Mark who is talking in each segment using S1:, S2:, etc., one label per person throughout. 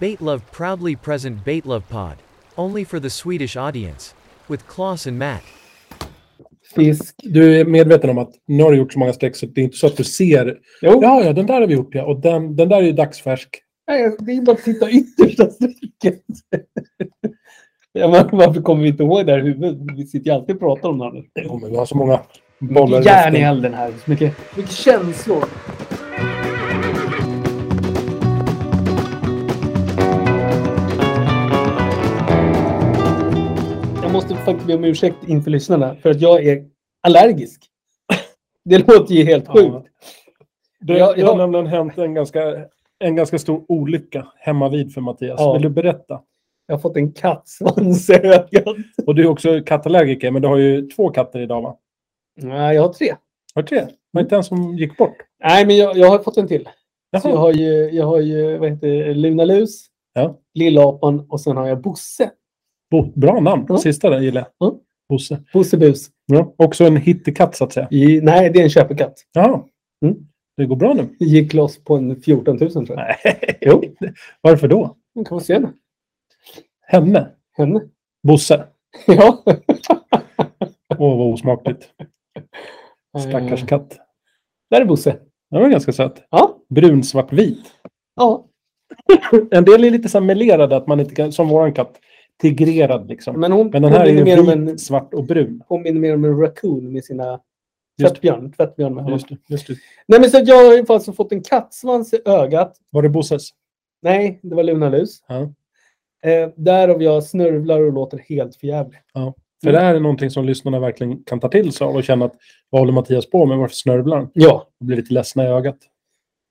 S1: Baitlove proudly present Baitlove Pod. Only for the Swedish audience. With Klaus and Matt.
S2: Fisk.
S3: Du är medveten om att nu har du gjort så många streck så det är inte så att du ser.
S2: Jo,
S3: Ja, ja, den där har vi gjort ja. Och den, den där är ju dagsfärsk.
S2: nej, det är bara att titta yttersta strecket. ja, men varför kommer vi inte ihåg det här i huvudet? Vi sitter ju alltid och pratar om det. här.
S3: Jo, men vi har så många bollar i
S2: Järn i
S3: luften.
S2: elden här. Så mycket, mycket känslor. Jag måste faktiskt be om ursäkt inför lyssnarna för att jag är allergisk. Det låter ju helt sjukt.
S3: Ja. Det,
S2: Ja,
S3: det har
S2: ja.
S3: nämligen hänt en ganska, en ganska stor olycka hemma vid för Mattias.
S2: Ja.
S3: Vill du berätta?
S2: Jag har fått en kattsvans i ögat.
S3: Och du är också kattallergiker, men du har ju två katter idag va?
S2: Nej, jag har tre.
S3: Har du tre? Men inte en som gick bort.
S2: Nej, men jag, jag har fått en till. Så jag
S3: Jaha.
S2: har ju, jag har ju vad heter det, Luna Lus,
S3: Ja.
S2: Lilla apan och sen har jag Bosse.
S3: Bo- Bra namn.
S2: Ja.
S3: Sista där gillar jag.
S2: Ja.
S3: Bosse.
S2: Bosse Bus.
S3: Ja. Också en hittekatt så att säga.
S2: I, nej, det är en köpekatt.
S3: Jaha.
S2: Mm.
S3: Det går bra nu.
S2: Gick loss på en 14 000 tror jag.
S3: Nej.
S2: Jo,
S3: Varför då?
S2: man kan få se henne.
S3: Henne?
S2: henne.
S3: Bosse?
S2: Ja.
S3: Åh, vad osmakligt. Stackars
S2: Eh,
S3: katt.
S2: Där är Bosse.
S3: Den var ganska söt.
S2: Ja.
S3: Brun, svart, vit.
S2: ja.
S3: En del är lite så här melerade, att man inte kan, som våran katt, tigrerad liksom.
S2: Men hon
S3: Men den här är
S2: påminner,
S3: ju
S2: mer om
S3: vit,
S2: en,
S3: svart och brun.
S2: påminner mer om en raccoon med sina
S3: Just-
S2: tvättbjörn. tvättbjörn med
S3: Just det, just det.
S2: Nej, men så att jag har ju alltså fått en kattsvans i ögat.
S3: Var det Bosses?
S2: Nej, det var Luna Lus.
S3: Ja.
S2: Eh, därav jag snörvlar och låter helt förjävlig.
S3: För
S2: Mm.
S3: det här är någonting som lyssnarna verkligen kan ta till sig av och känna att vad håller Mattias på med? Varför snörvlar han?
S2: Ja.
S3: Och blir lite ledsna i ögat.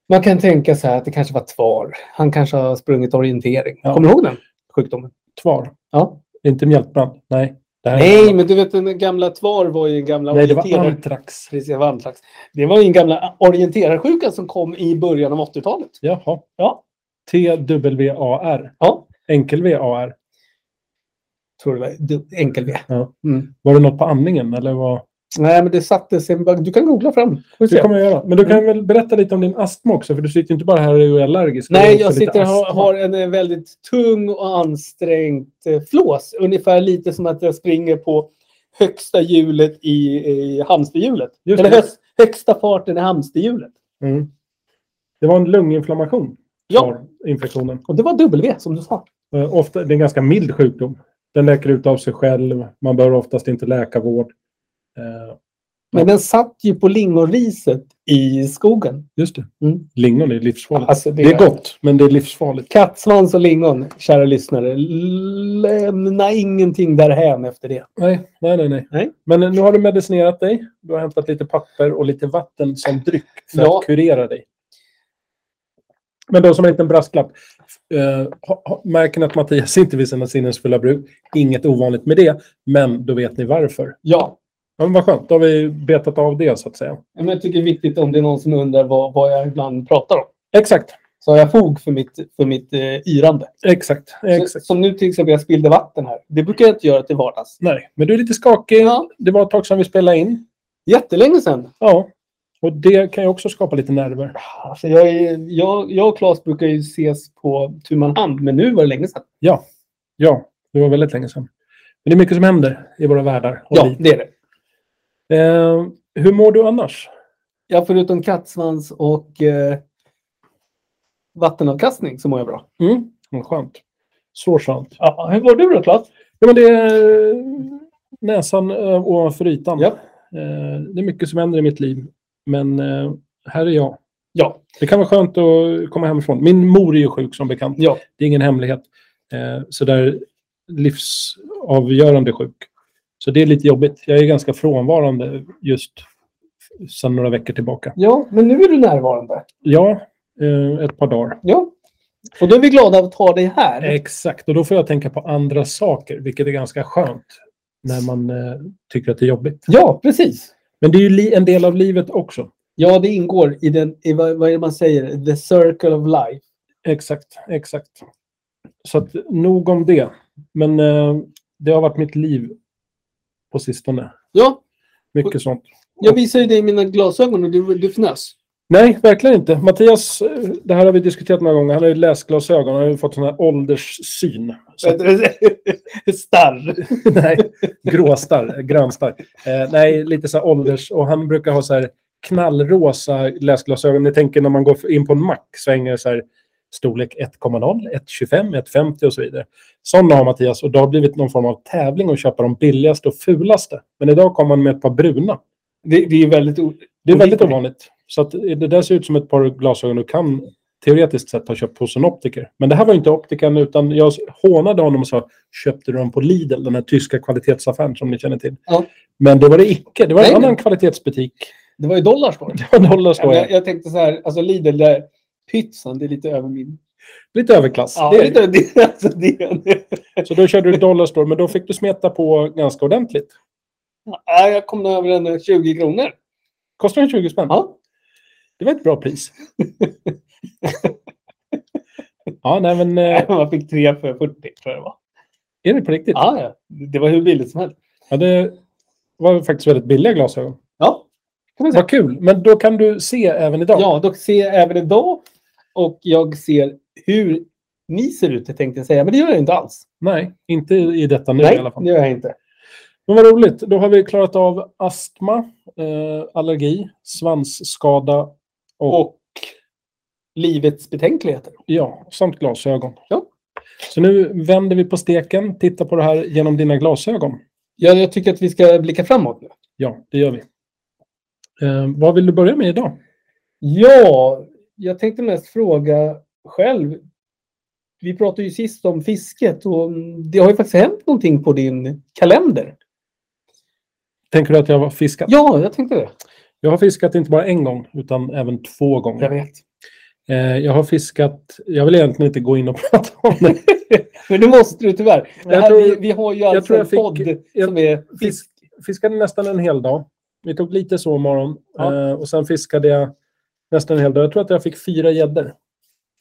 S2: Man kan tänka så här att det kanske var tvar. Han kanske har sprungit orientering.
S3: Ja.
S2: Kommer du ihåg den sjukdomen?
S3: Tvar.
S2: Ja.
S3: Inte mjältbrand. Nej. Det här är-
S2: Nej, men du vet den gamla tvar var ju en gamla
S3: Nej, det var
S2: orienterare-
S3: antrax.
S2: Precis, det var antrax. Det var ju en gamla orienterarsjuka som kom i början av 80-talet.
S3: Jaha.
S2: Ja.
S3: T-W-A-R.
S2: Ja.
S3: Enkel-V-A-R.
S2: Tror det var du- enkel V.
S3: Ja.
S2: Mm.
S3: Var det något på andningen eller vad?
S2: Nej, men det satte sig. Du kan googla fram. Får vi
S3: Det
S2: se.
S3: kommer jag göra. Men du
S2: Mm.
S3: kan väl berätta lite om din astma också? För du sitter ju inte bara här och är allergisk. Du
S2: Nej,
S3: har
S2: jag
S3: också lite
S2: sitter och har,
S3: astma.
S2: har en eh, väldigt tung och ansträngd eh, flås. Ungefär lite som att jag springer på högsta hjulet i, i hamsterhjulet.
S3: Just
S2: Eller
S3: det.
S2: högst, högsta farten i hamsterhjulet.
S3: Mm. Det var en lunginflammation.
S2: Ja,
S3: var Infektionen.
S2: och det var W som du sa.
S3: Eh, Ofta, det är en ganska mild sjukdom. Den läker ut av sig själv. Man behöver oftast inte läkarvård. Eh,
S2: Men den satt ju på lingonriset i skogen.
S3: just det.
S2: Mm.
S3: Lingon är livsfarligt.
S2: Alltså,
S3: det är gott, men det är livsfarligt.
S2: Kattsvans och lingon, kära lyssnare. Lämna ingenting därhän efter det.
S3: Nej, nej, nej, nej.
S2: Nej.
S3: Men eh, nu har du medicinerat dig. Du har hämtat lite papper och lite vatten som dryck för
S2: Ja.
S3: att kurera dig. Men då som en liten brasklapp. Eh, ha, ha, märker ni att Mattias inte vill sina sinnesfulla bruk? Inget ovanligt med det, men då vet ni varför.
S2: Ja,
S3: Ja, men vad skönt, då har vi betat av det så att säga.
S2: men jag tycker det är viktigt om det är någon som undrar vad, vad jag ibland pratar om.
S3: Exakt,
S2: Så har jag fog för mitt, för mitt eh, yrande.
S3: exakt,
S2: Så,
S3: exakt.
S2: som nu till exempel, jag spillde vatten här. Det brukar jag inte göra till vardags.
S3: Nej, men du är lite skakig.
S2: Ja.
S3: Det var ett tag sedan vi spelade in.
S2: Jättelänge sedan.
S3: Ja, och det kan ju också skapa lite nerver.
S2: Alltså jag, är, jag, jag och Claes brukar ju ses på tu man hand, men nu var det länge sedan.
S3: Ja, det var väldigt länge sedan. Men det är mycket som händer i våra världar. och
S2: Ja,
S3: liv.
S2: det är det.
S3: Eh, hur mår du annars?
S2: Ja, förutom kattsvans och eh, vattenavkastning så mår jag bra.
S3: Mm. Vad skönt. Så skönt.
S2: Ja, hur mår du då, Claes?
S3: Ja, men det är eh, näsan eh, ovanför ytan.
S2: Ja.
S3: Eh, det är mycket som händer i mitt liv. Men eh, här är jag.
S2: Ja,
S3: Det kan vara skönt att komma hemifrån. Min mor är ju sjuk som bekant.
S2: ja.
S3: Det är ingen hemlighet. Eh, så där livsavgörande sjuk. Så det är lite jobbigt. Jag är ganska frånvarande just sedan några veckor tillbaka.
S2: ja, men nu är du närvarande.
S3: Ja, eh, ett par dagar.
S2: Ja. Och då är vi glada att ha dig här.
S3: Exakt, och då får jag tänka på andra saker, vilket är ganska skönt när man eh, tycker att det är jobbigt.
S2: Ja, precis.
S3: Men det är ju li- en del av livet också.
S2: Ja, det ingår i den, i vad, vad är det man säger, the circle of life.
S3: Exakt, exakt. Så att, nog om det. Men eh, det har varit mitt liv på sistone.
S2: Ja,
S3: Mycket sånt.
S2: jag visade ju dig mina glasögon och du, du fnös.
S3: Nej, verkligen inte. Mattias, eh, det här har vi diskuterat några gånger. Han har ju läsglasögon. Han har ju fått sån här ålderssyn. Så att,
S2: Starr.
S3: nej, gråstarr, grönstarr. Eh, nej, lite så här ålders... Och han brukar ha så här knallrosa läsglasögon. Ni tänker när man går in på en mack så hänger det så här storlek 1,0, 1,25, 1,50 och så vidare. Sådana har Mattias och det har blivit någon form av tävling att köpa de billigaste och fulaste. Men idag kommer han med ett par bruna.
S2: Det, det är väldigt... o-
S3: Det är väldigt ovanligt. Så att det där ser ut som ett par glasögon du kan teoretiskt sett ha köpt hos en optiker. Men det här var ju inte optikern utan jag hånade honom och sa köpte du dem på Lidl, den här tyska kvalitetsaffären som ni känner till.
S2: Ja.
S3: Men det var det icke. Det var en
S2: Nej,
S3: annan
S2: men-
S3: kvalitetsbutik.
S2: Det var ju dollar står det.
S3: Det var dollar står
S2: Jag,
S3: jag.
S2: jag tänkte så här, alltså Lidl där, pizzan, det är lite över min...
S3: Lite överklass.
S2: Ja,
S3: det är
S2: det,
S3: det.
S2: lite, det, alltså, det,
S3: Så då körde du dollar store, men då fick du smeta på ganska ordentligt.
S2: ja, jag kom över den 20 kronor.
S3: Kostar den 20 spänn?
S2: Ja.
S3: Det var ett bra pris. ja, nej men eh,
S2: Man fick tre för 40 tror jag det var.
S3: är det på riktigt?
S2: Ja, ja. det var hur billigt som helst.
S3: Ja, det var faktiskt väldigt billiga glasögon.
S2: Ja, kan man säga.
S3: Vad kul, men då kan du se även idag.
S2: Ja, dock ser jag även idag och jag ser hur ni ser ut, jag tänkte jag säga. Men det gör jag inte alls.
S3: Nej, inte i i detta nu i
S2: Nej,
S3: alla fall.
S2: det gör jag inte.
S3: Men vad roligt, då har vi klarat av astma, eh, allergi, svansskada och,
S2: Och livets betänkligheter.
S3: ja, samt glasögon.
S2: Ja.
S3: Så nu vänder vi på steken, tittar på det här genom dina glasögon.
S2: Ja, jag tycker att vi ska blicka framåt nu.
S3: Ja, det gör vi. Eh, vad vill du börja med idag?
S2: Ja, jag tänkte mest fråga själv. Vi pratade ju sist om fisket och mm, det har ju faktiskt hänt någonting på din kalender.
S3: Tänker du att jag har fiskat?
S2: Ja, jag tänkte det.
S3: Jag har fiskat inte bara en gång, utan även två gånger.
S2: Jag vet.
S3: Eh, jag har fiskat, jag vill egentligen inte gå in och prata om det.
S2: Men det måste du tyvärr. Det
S3: Jag
S2: här,
S3: tror-
S2: vi, vi har ju alltså
S3: tror jag
S2: en
S3: fick-
S2: podd
S3: jag-
S2: som är fisk.
S3: Fisk, fiskade nästan en hel dag. Vi tog lite sovmorgon
S2: Ja.
S3: eh, och sen fiskade jag nästan en hel dag. Jag tror att jag fick fyra gäddor.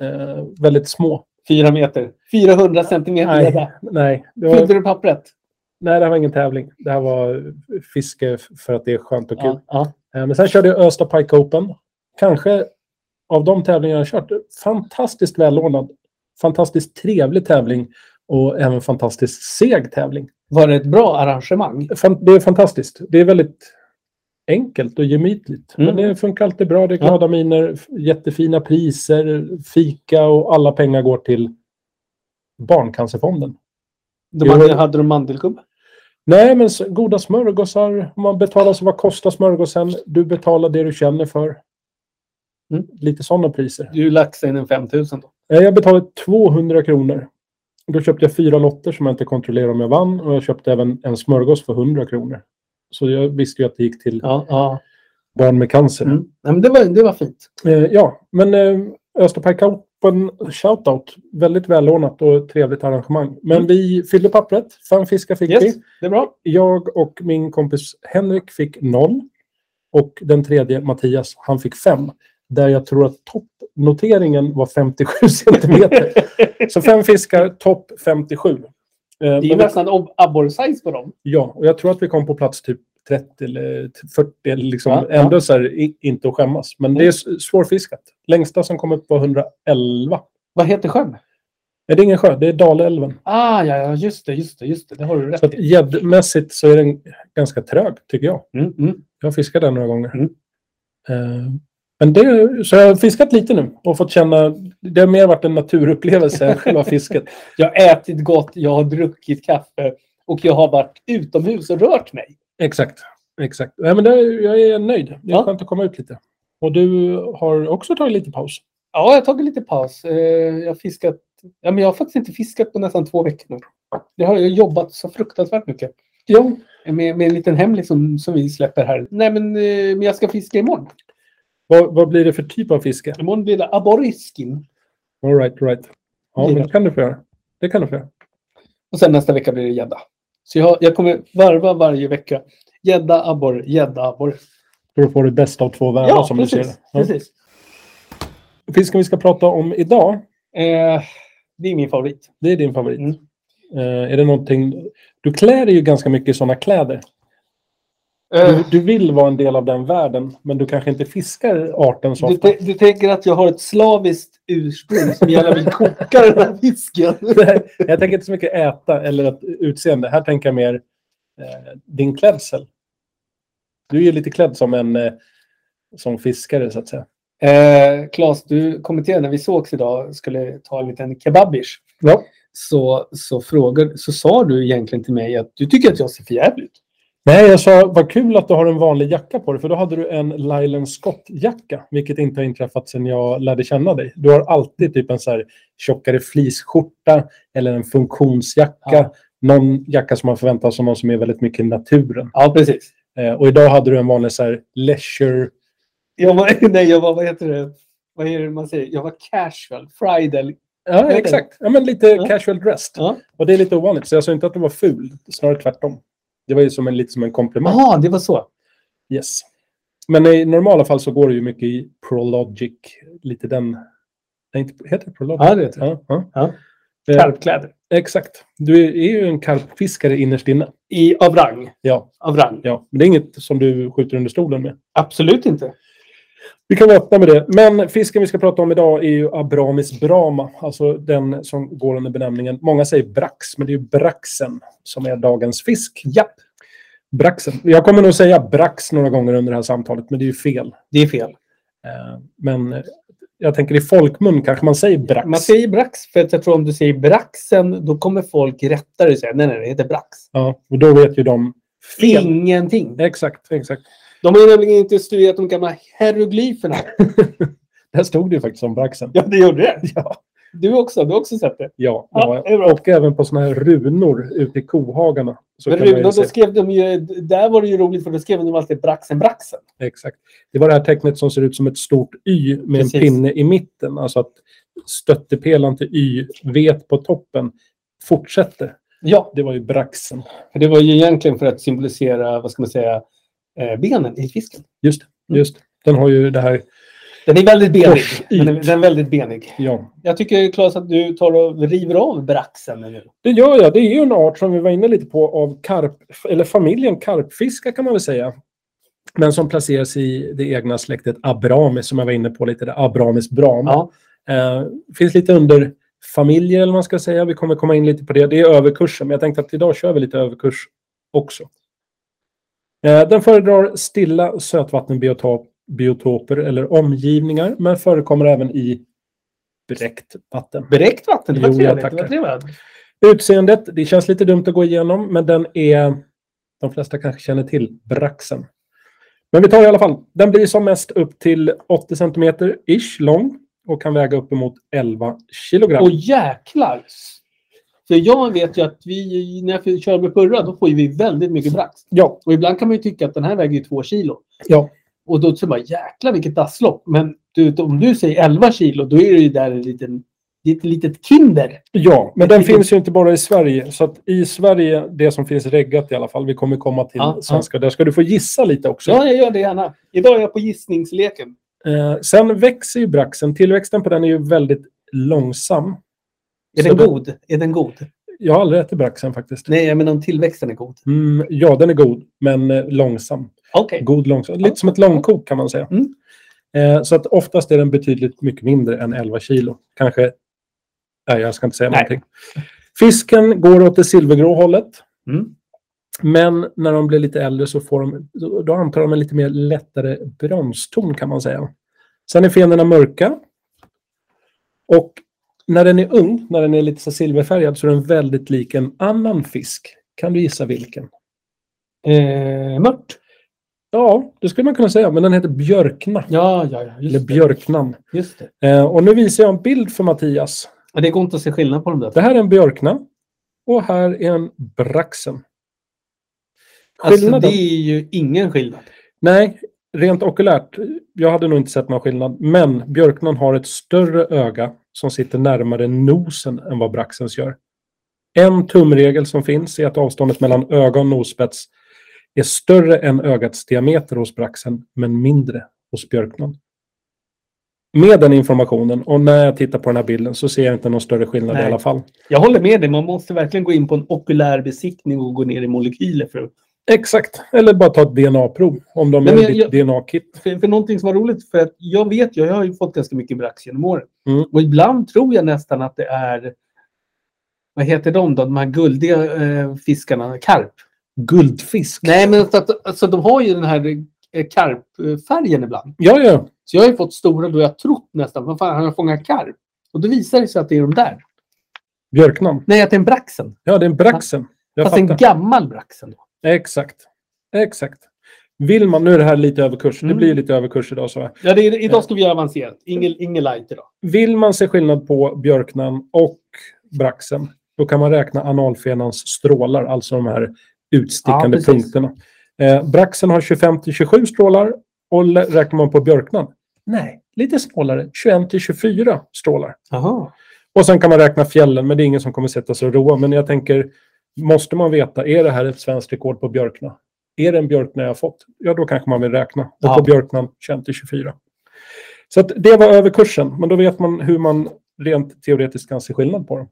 S3: Eh, väldigt små.
S2: Fyra meter. 400 centimeter.
S3: Nej,
S2: Nej.
S3: nej, det var,
S2: Fyllde du pappret?
S3: nej, det här var ingen tävling. Det här var fiske f- för att det är skönt och kul.
S2: Ja, ja.
S3: Eh, men sen körde jag Östa Pike Open. Kanske av de tävlingar jag har kört, fantastiskt välordnad. Fantastiskt trevlig tävling och även fantastiskt seg tävling.
S2: Var det ett bra arrangemang?
S3: Fan- Det är fantastiskt. Det är väldigt enkelt och gemytligt.
S2: Mm.
S3: Men det funkar alltid bra. Det är glada miner, f- jättefina priser, fika och alla pengar går till Barncancerfonden.
S2: De
S3: Jo.
S2: hade, hade de mandelkubb?
S3: Nej, men s- goda smörgåsar. Man betalar så vad kostar smörgåsen? Du betalar det du känner för.
S2: Mm.
S3: Lite sådana priser.
S2: Du laxade in en 5000 då.
S3: Eh, Jag betalade 200 kronor. Då köpte jag fyra lotter som jag inte kontrollerade om jag vann. Och jag köpte även en smörgås för 100 kronor. Så jag visste ju att det gick till
S2: Ja, ja.
S3: barn med cancer.
S2: Mm. Nej, men det, var, det var fint.
S3: Eh, ja, men eh, Österpark Open shoutout. Väldigt välordnat och trevligt arrangemang. Men vi fyllde pappret. Fem fiskar fick
S2: Mm. Yes,
S3: vi.
S2: det är bra.
S3: Jag och min kompis Henrik fick noll. Och den tredje, Mattias, han fick fem. Där jag tror att toppnoteringen var 57 centimeter. Så fem fiskar, topp 57. Eh,
S2: Det är ju
S3: men vi-
S2: nästan ob- abborrsize på dem.
S3: Ja, och jag tror att vi kom på plats typ 30 eller 40. eller Liksom.
S2: Ja, ja.
S3: Ändå så här, i, inte att skämmas. Men det är s- svårfiskat. Längsta som kom upp var 111.
S2: Vad heter sjön?
S3: Nej, det är ingen sjö, det är Dalälven.
S2: Ah, ja, ja, just det, just det, just det. Det har du rätt
S3: Så att
S2: i.
S3: gäddmässigt så är den ganska trög, tycker jag.
S2: Mm, mm.
S3: Jag har fiskat den några gånger.
S2: Mm.
S3: Eh, men det, så jag har fiskat lite nu och fått känna... Det har mer varit en naturupplevelse än själva fisket.
S2: Jag har ätit gott, jag har druckit kaffe och jag har varit utomhus och rört mig.
S3: Exakt. exakt. Nej, men det, jag är nöjd. Det är
S2: Ja.
S3: skönt att komma ut lite. Och du har också tagit lite paus.
S2: Ja, jag har tagit lite paus. Eh, Jag har fiskat. Ja, men jag har faktiskt inte fiskat på nästan två veckor nu. Jag har ju jobbat så fruktansvärt mycket.
S3: Ja,
S2: Med, med en liten hemlig som, som vi släpper här. Nej, men, eh, men jag ska fiska imorgon.
S3: Vad, vad blir det för typ av fiske?
S2: Imorgon blir det abborrskin.
S3: All right, all right. Ja, men det kan du få göra. Det kan du få göra.
S2: Och sen nästa vecka blir det gädda. Så jag, jag kommer varva varje vecka. Gädda, abborre, gädda, abborre.
S3: Då får du det bästa av två världar som du ser det. Ja.
S2: precis.
S3: Fisken vi ska prata om idag,
S2: Eh, det är min favorit.
S3: det är din favorit.
S2: Mm.
S3: Eh, är det någonting... Du klär dig ju ganska mycket i sådana kläder.
S2: Eh,
S3: Du, du vill vara en del av den världen, men du kanske inte fiskar arten så
S2: Du,
S3: ofta.
S2: tän- du tänker att jag har ett slaviskt ursprung som gärna vill koka den här fisken?
S3: jag tänker inte så mycket äta eller att utseende. Här tänker jag mer eh, din klädsel. Du är ju lite klädd som en eh, som fiskare, så att säga.
S2: Eh, Claes, du kommenterade när vi sågs idag skulle ta en liten kebabish.
S3: Ja.
S2: Så, så, frågade, så sa du egentligen till mig att du tycker att jag ser för jävligt ut.
S3: Nej, jag sa vad kul att du har en vanlig jacka på dig, för då hade du en Lylan Scott-jacka, vilket inte har inträffat sedan jag lärde känna dig. Du har alltid typ en så här tjockare fleeceskjorta eller en funktionsjacka.
S2: Ja.
S3: Någon jacka som man förväntar sig av någon som är väldigt mycket i naturen.
S2: Ja, precis.
S3: Eh, och idag hade du en vanlig så här leisure...
S2: Jag var, nej, jag var, vad heter det? Vad är det man säger? Jag var casual, friday.
S3: Ja,
S2: det.
S3: exakt. Ja, men lite
S2: Ja.
S3: casual dressed.
S2: Ja.
S3: Och det är lite ovanligt, så jag sa inte att du var ful. Snarare tvärtom. Det var ju som en, lite som en komplimang.
S2: Jaha, det var så.
S3: Yes. Men i normala fall så går det ju mycket i Prologic. Lite den... Nej, inte, heter det Prologic?
S2: Ja, det heter det.
S3: Ja, ja. Eh,
S2: Karpkläder.
S3: Exakt. Du är, är ju en karpfiskare innerst inne.
S2: I, av rang.
S3: Ja,
S2: Av rang.
S3: ja. Men det är inget som du skjuter under stolen med.
S2: Absolut inte.
S3: Vi kan vara öppna med det. Men fisken vi ska prata om idag är ju Abramis brama. Alltså den som går under benämningen. Många säger brax, men det är ju braxen som är dagens fisk. Japp. Braxen. Jag kommer nog säga brax några gånger under det här samtalet, men det är ju fel.
S2: Det är fel.
S3: Eh, Men eh, jag tänker i folkmun kanske man säger brax.
S2: Man säger brax för att jag tror om du säger braxen då kommer folk rättare säga nej, nej, det heter brax.
S3: Ja, och då vet ju de fel.
S2: Ingenting.
S3: Exakt, exakt.
S2: De har ju nämligen inte studerat de gamla hieroglyferna.
S3: Där stod det ju faktiskt om braxen.
S2: Ja, det gjorde det.
S3: Ja,
S2: Du också. Du har också sett det.
S3: ja,
S2: Ja,
S3: ja.
S2: det är bra.
S3: Och även på såna här runor ute i kohagarna. Så
S2: Men
S3: kan man ju
S2: Runo, då
S3: se.
S2: skrev de ju, där var det ju roligt för då skrev de alltid braxen, braxen.
S3: Exakt. Det var det här tecknet som ser ut som ett stort Y med
S2: Precis.
S3: en pinne i mitten. Alltså att stöttepelaren till Y, vet på toppen, fortsätter.
S2: Ja,
S3: Det var ju braxen.
S2: för det var ju egentligen för att symbolisera, vad ska man säga, eh, benen i fisken.
S3: Just det.
S2: Mm.
S3: Just. det. Den har ju det här...
S2: Den är väldigt benig.
S3: Kors
S2: Den är,
S3: yt.
S2: den är väldigt benig.
S3: Ja,
S2: Jag tycker Claes att du tar och river av braxen nu.
S3: Det gör jag. Det är ju en art som vi var inne lite på av karp, eller familjen karpfiska kan man väl säga. Men som placeras i det egna släktet Abramis som jag var inne på lite. Där, Abramis brama.
S2: Ja.
S3: Eh, finns lite under familjer eller vad man ska säga. Vi kommer komma in lite på det. Det är överkursen, men jag tänkte att idag kör vi lite överkurs också. Eh, den föredrar stilla sötvattenbiotoper eller omgivningar, men förekommer även i bräckt vatten.
S2: Bräckt vatten, det var
S3: Jo, jag
S2: trevligt. Det
S3: tackar.
S2: var trevligt.
S3: Utseendet, det känns lite dumt att gå igenom, men den är... De flesta kanske känner till braxen. Men vi tar i alla fall. Den blir som mest upp till 80 cm ish lång och kan väga uppemot 11 kilogram.
S2: Och jäklar! För jag vet ju att vi, när vi kör med purra, då får ju vi väldigt mycket brax.
S3: Ja,
S2: Och ibland kan man ju tycka att den här väger ju två kilo.
S3: ja,
S2: Och då tror man jäklar vilket dasslock. Men du, om du säger 11 kilo då är det ju där en liten, det är ett litet kinder.
S3: ja, men den
S2: Jag tycker-
S3: finns ju inte bara i Sverige. Så att i Sverige, det som finns reggat i alla fall, vi kommer komma till
S2: Ja,
S3: svenska. Där ska du få gissa lite också.
S2: Ja, jag gör det gärna. Idag är jag på gissningsleken.
S3: Eh, sen växer ju braxen. Tillväxten på den är ju väldigt långsam.
S2: Är
S3: Så
S2: den
S3: den-
S2: god? Är den god?
S3: Jag har aldrig ätit braxen faktiskt.
S2: Nej, jag menar om tillväxten är god.
S3: Mm, ja, den är god, men eh, långsam.
S2: Okej.
S3: God långsam. Lite som ett långkok kan man säga.
S2: Mm.
S3: Eh, så att oftast är den betydligt mycket mindre än 11 kilo. Kanske... Nej, jag ska inte säga
S2: Nej.
S3: någonting. Fisken går åt det silvergrå hållet.
S2: Mm.
S3: Men när de blir lite äldre så får de, då- då antar de en lite mer lättare bronston kan man säga. Sen är fenorna mörka. Och när den är ung, när den är lite så silverfärgad, så är den väldigt lik en annan fisk. Kan du gissa vilken?
S2: Eh, mört.
S3: Ja, det skulle man kunna säga, men den heter björkna.
S2: Ja, ja, ja.
S3: Eller
S2: Just, det.
S3: björknan.
S2: just det.
S3: Eh, och nu visar jag en bild för Mattias.
S2: Ja, det går inte att se skillnad på dem där.
S3: Det här är en björkna och här är en braxen.
S2: Alltså,
S3: Skillnaden?
S2: det är ju ingen skillnad.
S3: Nej, rent okulärt. Jag hade nog inte sett någon skillnad. Men björknan har ett större öga som sitter närmare nosen än vad braxens gör. En tumregel som finns är att avståndet mellan öga och nosspets är större än ögats diameter hos braxen, men mindre hos björknan. Med den informationen och när jag tittar på den här bilden så ser jag inte någon större skillnad i
S2: Nej.
S3: alla fall.
S2: Jag håller med dig. Man måste verkligen gå in på en okulär besiktning och gå ner i molekyler för att
S3: Exakt. Eller bara ta ett DNA-prov om de
S2: Nej,
S3: är
S2: men
S3: ditt
S2: jag-
S3: DNA-kit.
S2: För, för någonting som var roligt, för att jag vet ju, jag har ju fått ganska mycket brax genom åren.
S3: Mm.
S2: Och ibland tror jag nästan att det är, vad heter de då, de här guldiga eh, fiskarna, karp.
S3: Guldfisk.
S2: Nej, men att, att, alltså, de har ju den här eh, karpfärgen ibland.
S3: Ja, ja.
S2: Så jag har ju fått stora då jag trott nästan, vad fan, han har fångat karp. Och då visar det sig att det är de där.
S3: Björknamn.
S2: Nej, att det är en braxen.
S3: Ja, det är en braxen. Jag
S2: Fast en
S3: fattar.
S2: gammal braxen. Då.
S3: Exakt. Exakt. Vill man, nu är det här lite överkurs. Det
S2: Mm.
S3: blir lite överkurs idag. Så här.
S2: Ja, det är, idag ska vi göra avancerat. Ingen, ingen light idag.
S3: Vill man se skillnad på björknamn och braxen, då kan man räkna analfenans strålar, alltså de här
S2: Ja,
S3: utstickande
S2: precis.
S3: punkterna. Eh, braxen har 25 till 27 strålar och lä- räknar man på björknamn, nej, lite snålare, 21 till 24 strålar.
S2: Jaha.
S3: Och sen kan man räkna fjällen, men det är ingen som kommer sätta sig och roa. Men jag tänker, måste man veta, är det här ett svenskt rekord på björkna? Är det en björkna jag har fått? Ja, då kanske man vill räkna. Och
S2: Ja.
S3: på björknan 21-24. Så att det var överkursen, men då vet man hur man rent teoretiskt kan se skillnad på dem.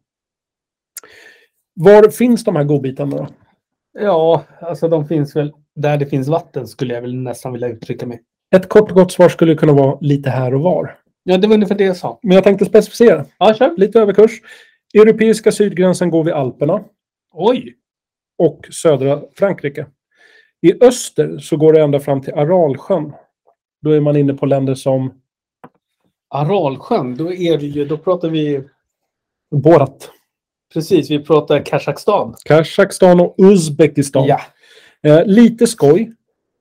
S3: Var finns de här godbitarna då?
S2: Ja, alltså de finns väl där det finns vatten skulle jag väl nästan vilja uttrycka mig.
S3: Ett kort och gott svar skulle kunna vara lite här och var.
S2: Ja, det var ungefär det jag sa.
S3: Men jag tänkte specificera.
S2: Ja, kör.
S3: Lite överkurs. Europeiska sydgränsen går vid Alperna.
S2: Oj!
S3: och södra Frankrike. I öster så går det ända fram till Aralsjön. Då är man inne på länder som
S2: Aralsjön, då är det ju, då pratar vi,
S3: Borat,
S2: precis, vi pratar Kazakstan.
S3: Kazakstan och Uzbekistan. Eh, lite skoj,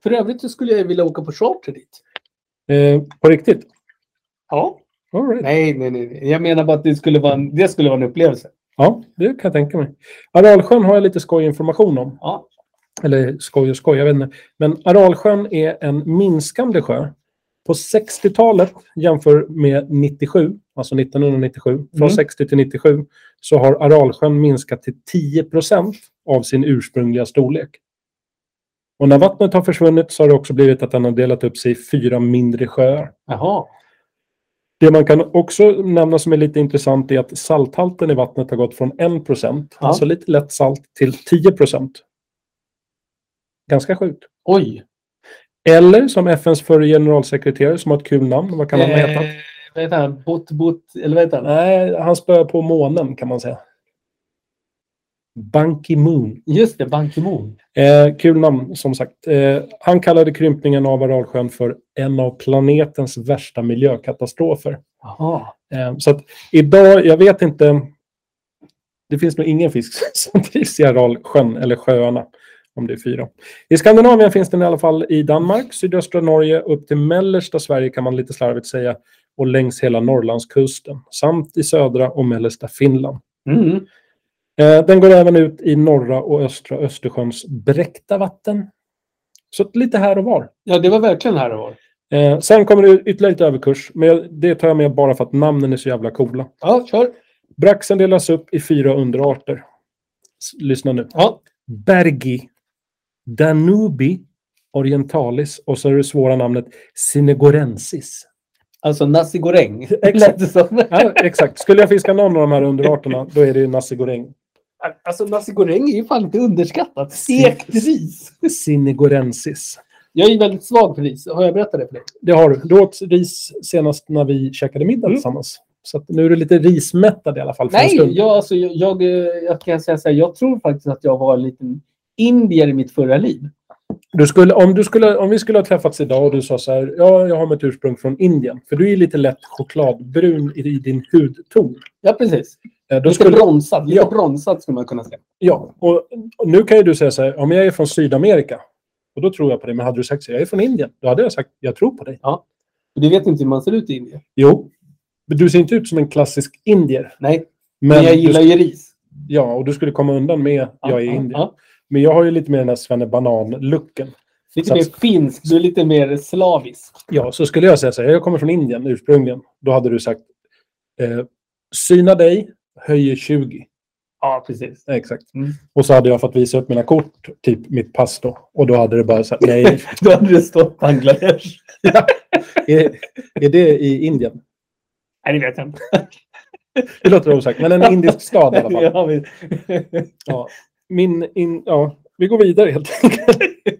S2: För övrigt så skulle jag vilja åka på charter dit.
S3: eh, på riktigt.
S2: Ja.
S3: All right.
S2: Nej, nej, nej. nej. Jag menar bara att det skulle vara en, det skulle vara en upplevelse.
S3: Ja, det kan jag tänka mig. Aralsjön har jag lite skojinformation om.
S2: Ja.
S3: Eller skoj och skoj, jag vet inte. Men Aralsjön är en minskande sjö. På 60-talet jämför med 97, alltså 1997, från
S2: Mm.
S3: 60 till 97, så har Aralsjön minskat till 10 procent av sin ursprungliga storlek. Och när vattnet har försvunnit så har det också blivit att den har delat upp sig i fyra mindre sjöar.
S2: Jaha.
S3: Det man kan också nämna som är lite intressant är att salthalten i vattnet har gått från 1 procent,
S2: Ja.
S3: alltså lite lätt salt, till 10 procent. Ganska sjukt.
S2: Oj.
S3: Eller som FNs förre generalsekreterare som har ett kul namn. Vad kan han ha
S2: Eh.
S3: hetat?
S2: Vad heter han? Bot, bot, eller vad heter han?
S3: Nej, han spöar på månen kan man säga. Ban Ki-Moon.
S2: Just det, Ban Ki-Moon.
S3: Eh, kul namn som sagt. Eh, han kallade krympningen av Aralsjön för en av planetens värsta miljökatastrofer.
S2: Jaha.
S3: Eh, så att idag, jag vet inte. Det finns nog ingen fisk som trivs i Aralsjön eller sjöarna. Om det är fyra. I Skandinavien finns den i alla fall i Danmark, sydöstra Norge, upp till mellersta Sverige kan man lite slarvigt säga. Och längs hela Norrlandskusten. Samt i södra och mellersta Finland.
S2: Mm.
S3: Eh, den går även ut i norra och östra Östersjöns bräckta vatten. Så att lite här och var.
S2: Ja, det var verkligen här och var.
S3: Eh, sen kommer det ytterligare lite överkurs. Men jag- det tar jag med bara för att namnen är så jävla coola.
S2: Ja, kör.
S3: Braxen delas upp i fyra underarter. S- Lyssna nu.
S2: Ja.
S3: Bergi, Danubi, Orientalis och så är det svåra namnet Sinegorensis.
S2: Alltså nasi goreng.
S3: Exakt.
S2: Lät det som.
S3: Ja, exakt. Skulle jag fiska någon av de här underarterna, då är det ju nasi goreng.
S2: Alltså nasi goreng är ju fan inte underskattat. Stekt ris.
S3: Sinegorensis.
S2: Jag är ju väldigt svag för ris. Har jag berättat det för dig?
S3: Det har du. Du åt ris senast när vi käkade middag
S2: Mm.
S3: tillsammans. Så att nu är du lite rismättad i alla fall för en stund.
S2: Nej, jag, alltså, jag, jag, eh, jag kan säga så här. Jag tror faktiskt att jag var en liten indier i mitt förra liv.
S3: Du skulle, om, du skulle, om vi skulle ha träffats idag och du sa så här, ja, jag har mitt ursprung från Indien. För du är ju lite lätt chokladbrun i, i din hudton.
S2: Ja, precis.
S3: Eh, Då
S2: Lite
S3: skulle,
S2: bronsad. Lite
S3: Ja.
S2: bronsad skulle man kunna säga.
S3: ja, och, och nu kan ju du säga så här, om jag är från Sydamerika, och då tror jag på dig. Men hade du sagt så här, jag är från Indien, då hade jag sagt, jag tror på dig.
S2: För Du vet inte hur man ser ut i Indien.
S3: Jo, men du ser inte ut som en klassisk indier.
S2: Nej,
S3: Men,
S2: men jag gillar
S3: du,
S2: ju ris.
S3: Ja, och du skulle komma undan med, jag är
S2: Ja,
S3: indier.
S2: ja.
S3: Men jag har ju lite mer den här svennebanan-looken.
S2: Lite
S3: Så
S2: mer
S3: att-
S2: finsk. Du är lite mer slavisk.
S3: Ja, så skulle jag säga så här, jag kommer från Indien ursprungligen. Då hade du sagt, eh, syna dig, höjer 20.
S2: Ja, precis.
S3: Exakt.
S2: Mm.
S3: Och så hade jag fått visa upp mina kort, typ mitt pass då. Och då hade det bara så här, nej,
S2: Då hade det stått Bangladesh.
S3: är, är det i Indien?
S2: Nej, det vet jag inte.
S3: Det låter osagt, men en indisk stad i alla fall.
S2: Ja, men-
S3: Ja. Min in, ja, vi går vidare helt enkelt.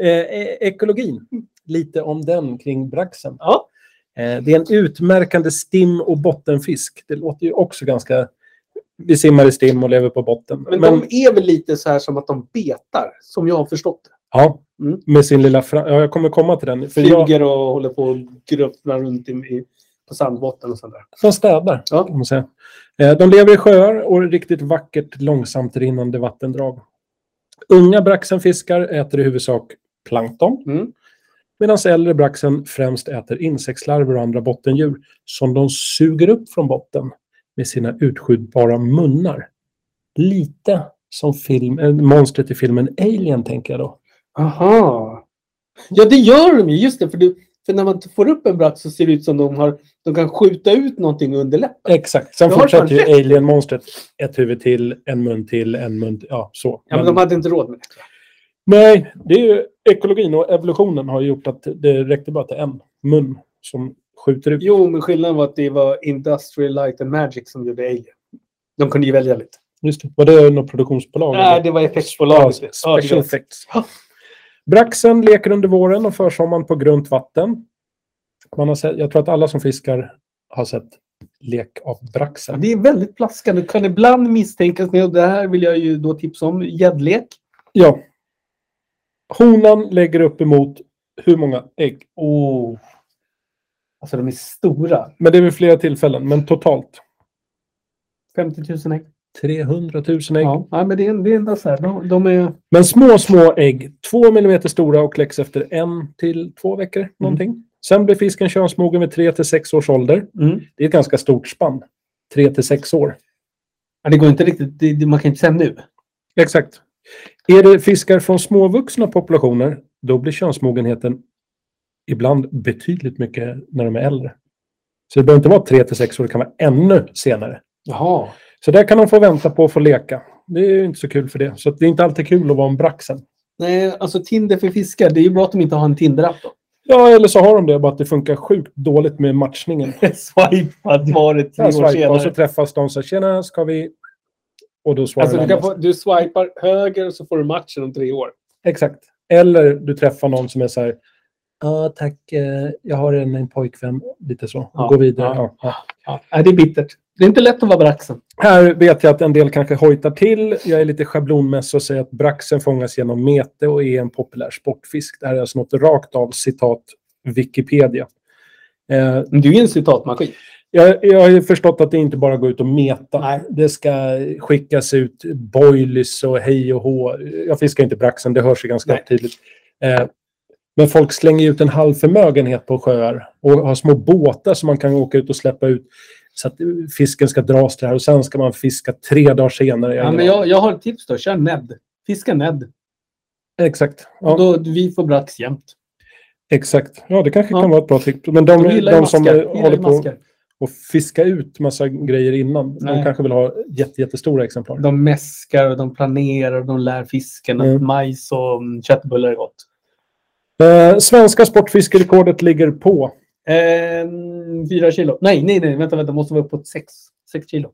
S3: Eh, e- ekologin, lite om den kring braxen.
S2: Ja.
S3: Eh, det är en utmärkande stim och bottenfisk. Det låter ju också ganska... Vi simmar i stim och lever på botten.
S2: Men, de är väl lite så här som att de betar, som jag har förstått det.
S3: Ja,
S2: Mm.
S3: med sin lilla... Fra... Ja, jag kommer komma till den. För jag,
S2: Flyger och håller på och gröpplar runt i, i, på sandbotten och sådär.
S3: de städar,
S2: Ja.
S3: kan man säga. Eh, De lever i sjöar och riktigt vackert, långsamt rinnande vattendrag. Unga braxenfiskar äter i huvudsak plankton,
S2: Mm.
S3: medan äldre braxen främst äter insektslarver och andra bottendjur som de suger upp från botten med sina utskjutbara munnar. Lite som film, eh, monstret i filmen Alien, tänker jag då.
S2: Aha. Ja, det gör de ju. Just det, för, du, för när man får upp en bratt så ser det ut som de har de kan skjuta ut någonting under läppen.
S3: Exakt. Sen
S2: Jag har
S3: fortsätter ju
S2: fan
S3: alien-monstret. Ett huvud till, en mun till, en mun till. Ja, så.
S2: Ja, men
S3: Men-
S2: de hade inte råd med det.
S3: Nej, det är ju ekologin och evolutionen har gjort att det räckte bara till en mun som skjuter ut.
S2: Jo, men skillnaden var att det var Industrial Light and Magic som gjorde Alien. De kunde ju välja lite.
S3: Just det. Var det något produktionsbolag?
S2: Nej,
S3: eller?
S2: det var effektbolaget.
S3: Ja,
S2: Ja, det
S3: Special
S2: var-
S3: effects.
S2: Ja.
S3: Braxen leker under våren och försommaren på grunt vatten. Man har sett, jag tror att alla som fiskar har sett lek av braxen.
S2: Det är väldigt plaskande. Du kan ibland misstänkas med, och det här vill jag ju då tipsa om, gäddlek.
S3: Ja. Honan lägger upp emot hur många ägg?
S2: Oh. Alltså de är stora.
S3: Men det är vid flera tillfällen, men totalt.
S2: 50 000 ägg.
S3: 300 000 ägg.
S2: Ja, nej, men det är, det är ändå så här. De, de är...
S3: Men små, små ägg. Två millimeter stora och kläcks efter en till två veckor. Någonting. Sen blir fisken könsmogen vid tre till sex års ålder.
S2: Mm.
S3: Det är ett ganska stort spann. Tre till sex år.
S2: Ja, det går inte riktigt. Det, det, man kan inte säga nu.
S3: Exakt. Är det fiskar från småvuxna populationer, då blir könsmogenheten ibland betydligt mycket när de är äldre. Så det behöver inte vara tre till sex år, det kan vara ännu senare.
S2: Jaha.
S3: Så där kan de få vänta på att få leka. Det är ju inte så kul för det. Så att det är inte alltid kul att vara en braxen.
S2: Nej, alltså Tinder för fiskar. Det är ju bra att de inte har en Tinder-app då.
S3: Ja, eller så har de det, bara att det funkar sjukt dåligt med matchningen.
S2: Swipad var det tre
S3: Ja,
S2: år
S3: swipe, och så
S2: senare.
S3: träffas de och säger tjena, ska vi... Och då svarar
S2: Alltså, du,
S3: den
S2: kan
S3: andra.
S2: få, du swipar höger och så får du matchen om tre år.
S3: Exakt. Eller du träffar någon som är så här, ja tack, eh, jag har en, en pojkvän, lite så.
S2: Ja,
S3: Gå vidare.
S2: ja.
S3: Ja,
S2: Ja. Nej, det är bittert. Det är inte lätt att vara braxen.
S3: ja. Här vet jag att en del kanske hojtar till. Jag är lite schablonmässig och säger att braxen fångas genom mete och är en populär sportfisk. Det här är alltså något rakt av citat Wikipedia. Eh,
S2: Du är ju en citatmaskin.
S3: Jag, jag har ju förstått att det inte bara går ut och meta.
S2: Nej.
S3: Det ska skickas ut boilies och hej och hå. Jag fiskar inte braxen, det hörs ju ganska
S2: Nej.
S3: tydligt. Eh, men folk slänger ut en halv förmögenhet på sjöar och har små båtar som man kan åka ut och släppa ut så att eh, fisken ska dras till det här och sen ska man fiska tre dagar senare.
S2: Ja, men jag, jag har ett tips då. Kör Ned. Fiska Ned.
S3: Exakt. Ja,
S2: Och då, vi får brax jämt.
S3: exakt. Ja, det kanske
S2: Ja.
S3: kan vara ett bra tips. Men
S2: De
S3: de, de,
S2: gillar ju
S3: som
S2: maskar. De
S3: eh,
S2: gillar
S3: håller
S2: ju
S3: på
S2: maskar.
S3: och fiska ut massa grejer innan, de
S2: Nej.
S3: kanske vill ha jätte, jättestora exemplar.
S2: De mäskar och de planerar och de lär fisken att
S3: Mm.
S2: majs och mm, köttbullar är gott.
S3: Eh, svenska sportfiskerekordet ligger på
S2: Ehm, fyra kilo. Nej, nej, nej. Vänta, vänta. Måste vara uppåt sex. Sex kilo.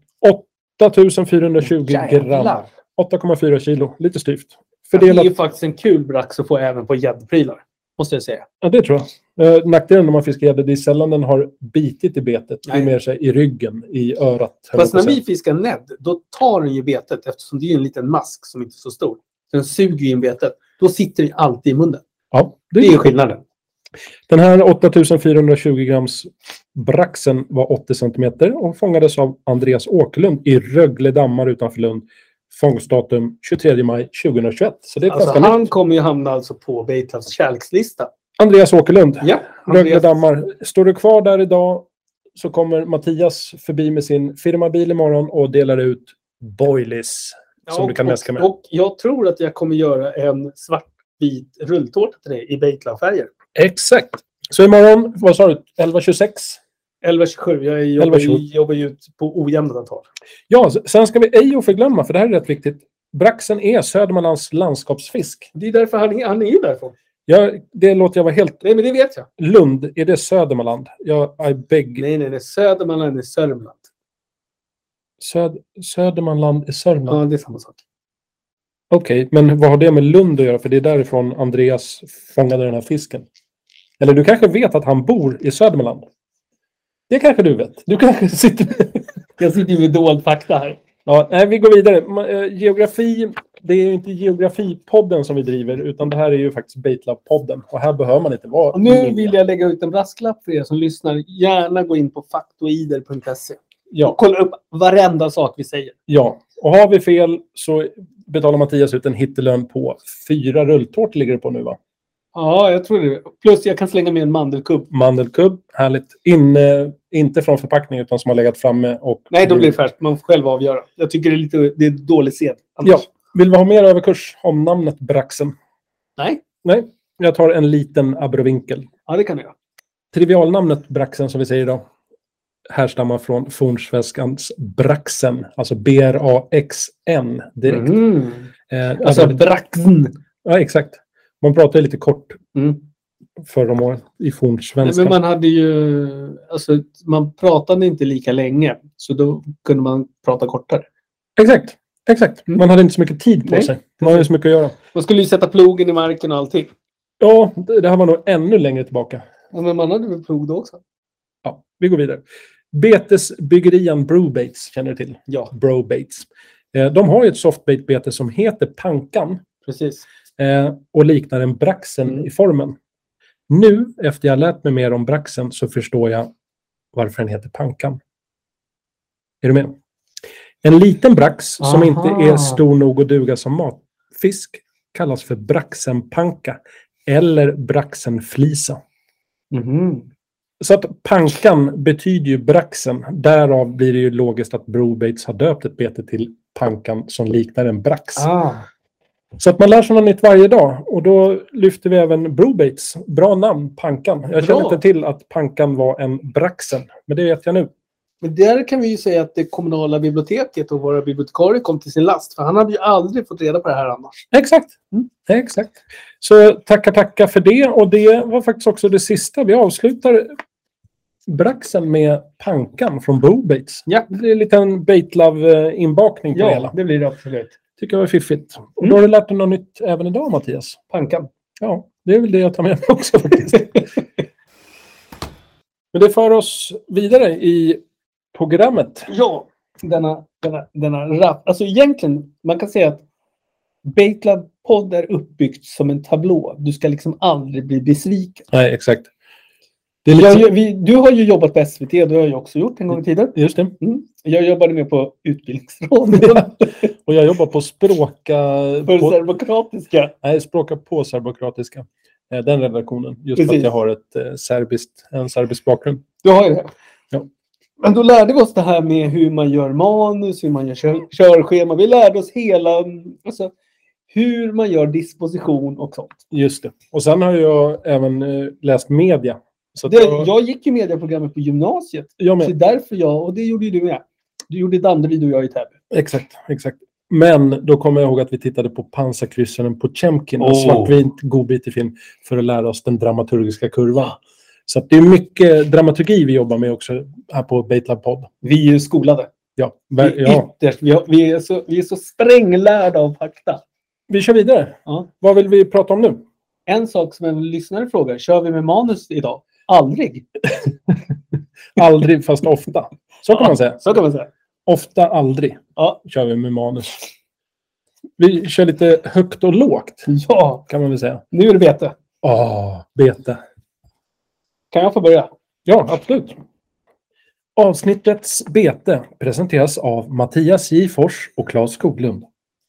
S3: 8420 gram. 8,4 kilo. Lite styvt.
S2: Det är
S3: Fördelat.
S2: ju faktiskt en kul brax att få även på gäddprylar. Måste jag säga.
S3: Ja, det tror jag. Eh, nackdelen när man fiskar gädda, det är sällan den har bitit i betet. Det är
S2: Nej.
S3: mer så här, i ryggen, i örat. höll
S2: Fast
S3: jag
S2: när
S3: på att
S2: vi fiskar ned, då tar den ju betet eftersom det är ju en liten mask som inte är så stor. Den suger ju in betet. Då sitter det alltid i munnen.
S3: säga. Ja,
S2: Det
S3: det är
S2: är ju
S3: ju
S2: skillnaden.
S3: Den här 8420 grams braxen var 80 centimeter och fångades av Andreas Åkerlund i Rögle dammar utanför Lund. Fångstdatum 23 maj 2021. Så det är
S2: Alltså,
S3: ganska nytt.
S2: han kommer ju hamna alltså på Baithavs kärlekslista.
S3: Andreas Åkerlund.
S2: Ja,
S3: Rögle
S2: Andreas.
S3: dammar. Står du kvar där idag så kommer Mattias förbi med sin firmabil imorgon och delar ut boilies som
S2: Ja,
S3: du kan
S2: och-
S3: mäska med.
S2: Och jag tror att jag kommer göra en svartvit rulltårta till dig i Baitland-färger.
S3: Exakt. Så imorgon, vad sa du, 11.26?
S2: 11.27. Jag jobbar,
S3: 11.27.
S2: ju- jobbar ju ut på ojämna tal.
S3: Ja, s- sen ska vi ej förglömma, för det här är rätt viktigt. Braxen är Södermanlands landskapsfisk.
S2: Det är därför han, är- han är ju därifrån.
S3: Jag, det låter jag vara helt...
S2: Nej, men det vet jag.
S3: Lund, är det Södermanland? Jag, I beg...
S2: Nej, nej, nej. Södermanland är Sörmland.
S3: Söd, Södermanland är Sörmland.
S2: Ja, det är samma sak.
S3: Okej, men vad har det med Lund att göra? För det är därifrån Andreas fångade den här fisken. Eller du kanske vet att han bor i Södermanland? Det kanske du vet. Du kanske sitter...
S2: Jag sitter ju med dold fakta här.
S3: Ja, nej, vi går vidare. Ma- eh, Geografi, det är ju inte Geografipodden som vi driver, utan det här är ju faktiskt Baitlab-podden. Och här behöver man inte vara...
S2: Och nu vill jag lägga ut en brasklapp för er som lyssnar. Gärna gå in på faktoider.se.
S3: Ja.
S2: Och kolla upp varenda sak vi säger.
S3: Ja, och har vi fel så betalar Mattias ut en hittelön på fyra rulltårtor ligger det på nu va?
S2: Ja, jag tror det. Plus jag kan slänga med en mandelkubb.
S3: Mandelkubb, härligt. In, eh, inte från förpackning utan som har legat framme och...
S2: Nej, då blir det färskt. Man får själv avgöra. Jag tycker det är lite det är dålig sed. annars.
S3: Ja. Vill vi ha mer överkurs om namnet Braxen?
S2: Nej,
S3: Nej, jag tar en liten abrovinkel.
S2: ja, det kan jag.
S3: Trivialnamnet Braxen som vi säger idag härstammar från fornsvenskans Braxen, alltså B-R-A-X-N direkt.
S2: Mm.
S3: Eh,
S2: Alltså
S3: abro-
S2: braxen.
S3: ja, exakt. Man pratar ju lite kort
S2: Mm.
S3: förr om året i
S2: Nej,
S3: fornsvenskan.
S2: men man hade ju... Alltså, man pratade inte lika länge. Så då kunde man prata kortare.
S3: Exakt. Exakt.
S2: Mm.
S3: Man hade inte så mycket tid på
S2: Nej,
S3: sig. Man hade så mycket att göra.
S2: Man skulle ju sätta plogen i marken och allting.
S3: Ja, det det här var nog ännu längre tillbaka.
S2: Ja, men man hade väl plog då också?
S3: Ja, vi går vidare. Betesbyggerian Brobates känner du till.
S2: Ja,
S3: Brobates. Eh, De har ju ett softbait-bete som heter Pankan
S2: precis.
S3: eh, och liknar en braxen
S2: Mm.
S3: i formen. Nu, efter jag lärt mig mer om braxen, så förstår jag varför den heter Pankan. Är du med? En liten brax som
S2: Aha.
S3: inte är stor nog att duga som matfisk kallas för braxenpanka eller braxenflisa.
S2: Mhm.
S3: Så att pankan betyder ju braxen. Därav blir det ju logiskt att Brobates har döpt ett bete till pankan som liknar en brax.
S2: Ah.
S3: Så att man lär sig något nytt varje dag. Och då lyfter vi även Brobates. Bra namn, pankan. Jag känner
S2: Bra.
S3: inte till att pankan var en braxen. Men det vet jag nu.
S2: Men där kan vi ju säga att det kommunala biblioteket och våra bibliotekarier kom till sin last. För han hade ju aldrig fått reda på det här annars.
S3: Exakt.
S2: Mm.
S3: Exakt. Så tackar, tackar för det. Och det var faktiskt också det sista. Vi avslutar braxen med pankan från Brobates.
S2: Ja.
S3: Det blir en liten Baitlove-inbakning på det hela.
S2: det blir det absolut.
S3: tycker jag var fiffigt. Och då har du lärt dig något nytt även idag, Mattias.
S2: Pankan.
S3: Ja, det är väl det jag tar med mig också faktiskt. Men det för oss vidare i programmet.
S2: Ja, denna, denna, denna rap. Alltså egentligen, man kan säga att Baitlab podd är uppbyggt som en tablå. Du ska liksom aldrig bli besviken.
S3: Nej, exakt. Det är
S2: Jag, har
S3: lite...
S2: ju- vi, du har ju jobbat på SVT, det har jag också gjort en gång i tiden.
S3: Just det.
S2: Jag jobbade med på Utbildningsrådet
S3: Och jag jobbar på språka...
S2: för
S3: På...
S2: serbokroatiska.
S3: Nej, språka på serbokroatiska. Eh, Den redaktionen. Just för
S2: Precis.
S3: att jag har ett eh, serbiskt, en serbisk bakgrund.
S2: Du har ju det.
S3: Ja.
S2: Men då lärde vi oss det här med hur man gör manus, hur man gör kör, körschema. Vi lärde oss hela, mm, alltså, hur man gör disposition och sånt.
S3: Just det. Och sen har jag även eh, läst media. Så att
S2: Det,
S3: jag...
S2: jag gick ju medieprogrammet på gymnasiet.
S3: jag
S2: Så
S3: med.
S2: det är därför jag, och det gjorde ju du med. Du gjorde Danderyd och jag i Täby.
S3: Exakt, exakt. Men då kommer jag ihåg att vi tittade på pansarkryssaren på Chemkin, en
S2: Oh.
S3: svartvit godbitig film, för att lära oss den dramaturgiska kurvan. Så att det är mycket dramaturgi vi jobbar med också här på Baitlab podd.
S2: Vi är ju skolade.
S3: Ja,
S2: Vi
S3: ver-
S2: är,
S3: ja.
S2: ytterst, vi, har, vi, är så, vi är så spränglärda av fakta.
S3: Vi kör vidare.
S2: Ja.
S3: Vad vill vi prata om nu?
S2: En sak som en lyssnare frågar, kör vi med manus idag? Aldrig.
S3: Aldrig, fast ofta. Så kan man säga.
S2: Så kan man säga.
S3: Ofta, aldrig
S2: Ja.
S3: kör vi med manus. Vi kör lite högt och lågt,
S2: Ja,
S3: kan man väl säga.
S2: nu är det bete.
S3: Åh, bete.
S2: Kan jag få börja?
S3: Ja, absolut. Avsnittets bete presenteras av Mattias J. Fors och Claes Skoglund.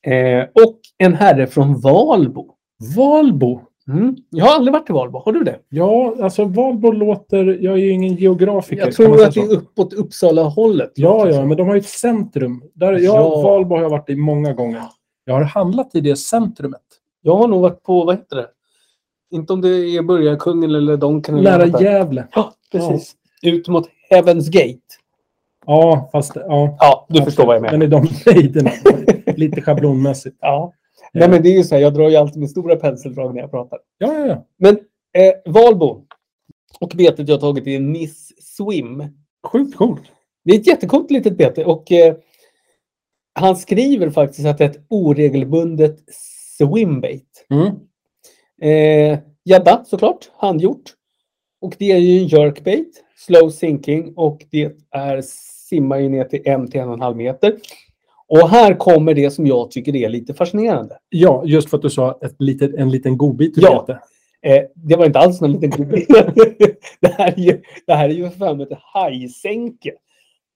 S2: Eh, och en herre från Valbo.
S3: Valbo.
S2: Mm. Jag har aldrig varit i Valbo. Har du det?
S3: Ja, alltså Valbo låter... Jag är ju ingen geografiker.
S2: Jag
S3: kan
S2: tror
S3: man säga
S2: att det är
S3: så?
S2: uppåt Uppsala-hållet.
S3: Ja, ja, men de har ju ett centrum. Där, jag,
S2: Ja.
S3: Valbo har jag varit i många gånger. Jag har handlat i det centrumet.
S2: Jag har nog varit på, vad heter det? Inte om det är Burgarkungen eller Donken. eller något
S3: Nära
S2: där.
S3: Gävle.
S2: Ja, precis. Ut mot Heaven's Gate.
S3: Ja, fast... Ja.
S2: Ja, du förstår vad jag menar.
S3: Men i de nejderna. Lite schablonmässigt.
S2: Ja. Nej, men det är ju så här, jag drar ju alltid med stora penseldrag när jag pratar.
S3: Ja, ja, ja.
S2: Men eh, Valbo och betet jag har tagit är Miss Swim.
S3: Sjukt coolt.
S2: Det är ett jättecoolt litet bete och eh, han skriver faktiskt att det är ett oregelbundet swimbait.
S3: Mm.
S2: Eh, gädda såklart, handgjort. Och det är ju en jerkbait, slow sinking och det är simmar ju ner till en till en och en halv meter. Och här kommer det som jag tycker är lite fascinerande.
S3: Ja, just för att du sa ett litet, en liten godbit du
S2: Ja.
S3: lekte.
S2: Eh, det var inte alls någon liten godbit. det, här är ju- det här är ju för fan ett hajsänke.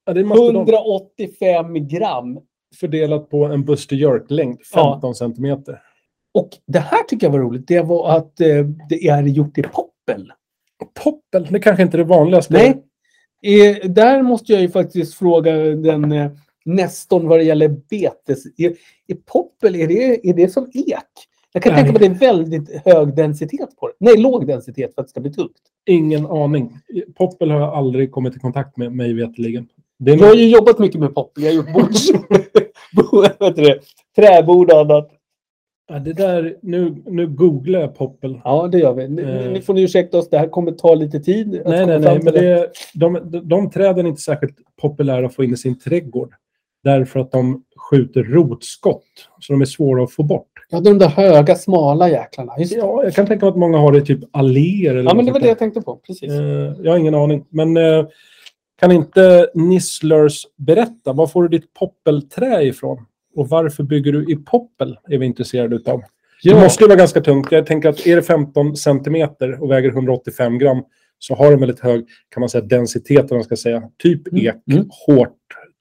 S3: Ja, det måste de
S2: 185 gram.
S3: fördelat på en Buster Jerk-längd, 15 centimeter.
S2: Och det här tycker jag var roligt. Det var att eh, det är gjort i poppel.
S3: Poppel, det kanske inte är det vanligaste.
S2: Nej. Eh, där måste jag ju faktiskt fråga den eh, Nestorn vad det gäller betes. Är, är poppel, är det, är det som ek? Jag kan
S3: Nej.
S2: tänka mig att det är väldigt hög densitet på det. Nej, låg densitet för att det ska bli tungt.
S3: Ingen aning. Poppel har jag aldrig kommit i kontakt med, mig veterligen. Det är
S2: Jag har
S3: nog-
S2: ju jobbat mycket med poppel. Jag har gjort bords, bo- vad heter det, träbord och annat.
S3: ja, det där, nu, nu googlar jag poppel.
S2: Ja, det gör vi. Ni,
S3: Eh.
S2: ni får ni ursäkta oss. Det här kommer ta lite tid. att
S3: Nej,
S2: komma
S3: nej,
S2: fram
S3: nej.
S2: till
S3: Men det, de, de, de träden är inte särskilt populära att få in i sin trädgård. Därför att de skjuter rotskott. Så de är svåra att få bort.
S2: Ja, de där höga, smala jäklarna. Just det.
S3: Ja, jag kan tänka mig att många har det i typ alléer. Eller
S2: Ja, men det var
S3: något sånt
S2: det
S3: där.
S2: jag tänkte på. Precis.
S3: Eh, jag har ingen aning. Men eh, kan inte Nisslers berätta, var får du ditt poppelträ ifrån? Och varför bygger du i poppel? är vi intresserade utav. Det måste ju vara ganska tungt. Jag tänker att är det 15 centimeter och väger 185 gram så har den väldigt hög, kan man säga, densitet, eller vad man ska säga. Typ
S2: Mm.
S3: ek,
S2: Mm.
S3: hårt,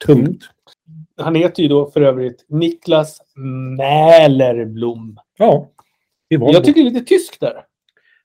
S3: tungt.
S2: Han heter ju då för övrigt Niklas Mälerblom.
S3: Ja, i Valbo.
S2: Jag tycker det är lite tysk där.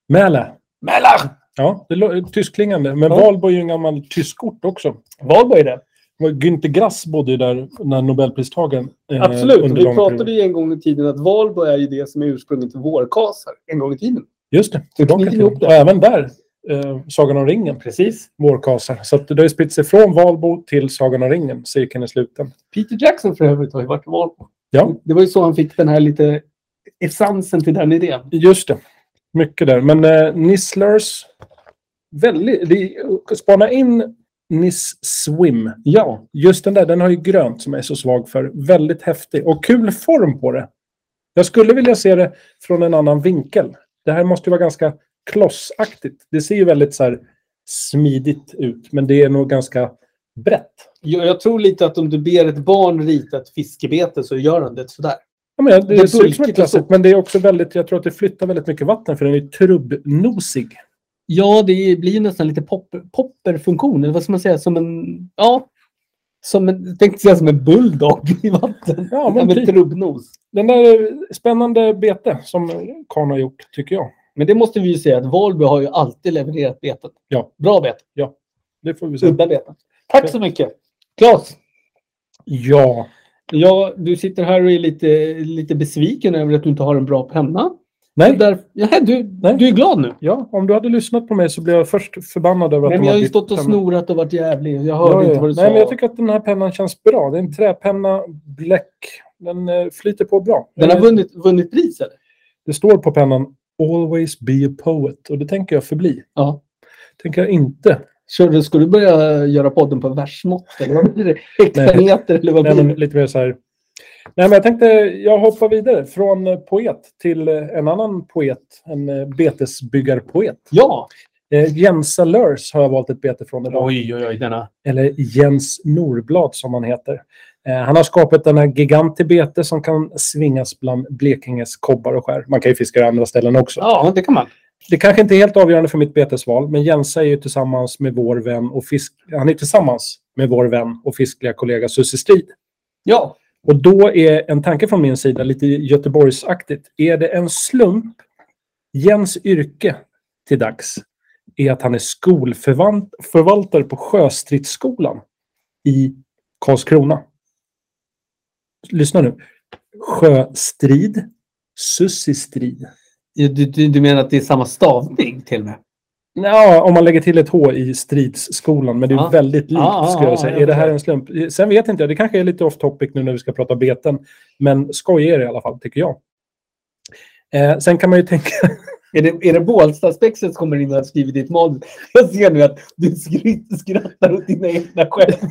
S3: Mäle.
S2: Mäler!
S3: Ja, det lå- tyskklingande. Men
S2: Ja.
S3: Valbo är ju en gammal tyskort också.
S2: Valborg är det.
S3: Det var Günther Grass bodde ju där när Nobelpristagaren... eh,
S2: Absolut.
S3: under
S2: Vi
S3: lång period.
S2: pratade ju en gång i tiden att Valborg är ju det som är ursprunget till vårkasar. En gång i tiden.
S3: Just det, tillbaka
S2: knyter
S3: till.
S2: ihop det.
S3: Och även där, eh, Sagan om ringen,
S2: Precis.
S3: vårkasar. Så att det har ju spritt sig från Valbo till Sagan om ringen, cirkeln är sluten.
S2: Peter Jackson för övrigt har ju varit i Valborg.
S3: Ja.
S2: Det var ju så han fick den här lite essensen till den idén.
S3: Just det, mycket där. Men eh, Nisslers, väldigt, det, spana in Niss Swim.
S2: Ja.
S3: Just den där, den har ju grönt som jag är så svag för. Väldigt häftig och kul form på det. Jag skulle vilja se det från en annan vinkel. Det här måste ju vara ganska klossaktigt. Det ser ju väldigt så här smidigt ut, men det är nog ganska brett.
S2: Jag, jag tror lite att om du ber ett barn rita ett fiskebete så gör han det sådär.
S3: Ja, men det,
S2: Det är
S3: ser ut som
S2: bulkigt
S3: ett
S2: och
S3: klassiskt,
S2: stort.
S3: men det är också väldigt, jag tror att det flyttar väldigt mycket vatten för den är ju trubbnosig.
S2: Ja, det blir ju nästan lite popper, popperfunktion. Eller vad ska man säga? Som en... Ja. Som en, jag tänkte säga som en bulldog i vatten.
S3: Ja,
S2: Ja,
S3: men
S2: men
S3: typ.
S2: trubbnos.
S3: Den där är spännande bete som Karn har gjort, tycker jag.
S2: Men det måste vi ju säga att Valby har ju alltid levererat betet.
S3: Ja.
S2: Bra bet.
S3: Det får vi se.
S2: Udda beten. Tack så mycket. Claes,
S3: Ja,
S2: ja, du sitter här och är lite, lite besviken över att du inte har en bra penna.
S3: Nej.
S2: Så Där, ja, du,
S3: Nej.
S2: du är glad nu.
S3: ja, om du hade lyssnat på mig så blev jag först förbannad över att
S2: Nej,
S3: de
S2: men jag har ju
S3: ditt
S2: stått och
S3: ämne.
S2: snorat och varit jävlig. Jag hörde
S3: Ja,
S2: inte
S3: ja.
S2: vad du
S3: Nej,
S2: sa.
S3: men jag tycker att den här pennan känns bra. Det är en träpenna, bläck. Den eh, flyter på bra.
S2: Den har
S3: Eh,
S2: vunnit, vunnit pris, eller?
S3: Det står på pennan “Always be a poet” och det tänker jag förbli.
S2: Ja.
S3: tänker jag inte.
S2: Kör du, ska du börja göra podden på versmått? Eller vad blir det? Hektameter eller vad
S3: Nej,
S2: blir
S3: men
S2: det?
S3: lite mer så här. Nej, men jag tänkte jag hoppar vidare från eh, poet till eh, en annan poet. En eh, betesbyggarpoet.
S2: Ja!
S3: Eh, Jensa Lörs har jag valt ett bete från idag.
S2: Oj, oj, oj. Denna.
S3: Eller Jens Norblad som han heter. Eh, han har skapat denna gigantiska bete som kan svingas bland Blekinges kobbar och skär. Man kan ju fiska i andra ställen också.
S2: Ja, det kan man.
S3: Det kanske inte är helt avgörande för mitt betesval, men Jensa är ju tillsammans med vår vän och fisk... Han är tillsammans med vår vän och fiskliga kollega Susie Strid.
S2: Ja.
S3: Och då är en tanke från min sida lite Göteborgsaktigt. Är det en slump Jens yrke till dags är att han är skolförvaltare på Sjöstridsskolan i Karlskrona? Lyssna nu. Sjöstrid, Sussistrid.
S2: Du, du, du menar att det är samma stavning till och med?
S3: Ja, om man lägger till ett H i stridsskolan, men det är
S2: Ja.
S3: väldigt likt
S2: Ja, ja,
S3: skulle
S2: ja,
S3: jag säga.
S2: jag
S3: är det här
S2: förstår.
S3: en slump? Sen vet inte jag, det kanske är lite off topic nu när vi ska prata beten, men skoj är det i alla fall, tycker jag. Eh, sen kan man ju tänka,
S2: Är det, är det Bålstaspexet som kommer in och har skrivit ditt manus? Jag ser nu att du skry- skrattar åt dina egna skämt.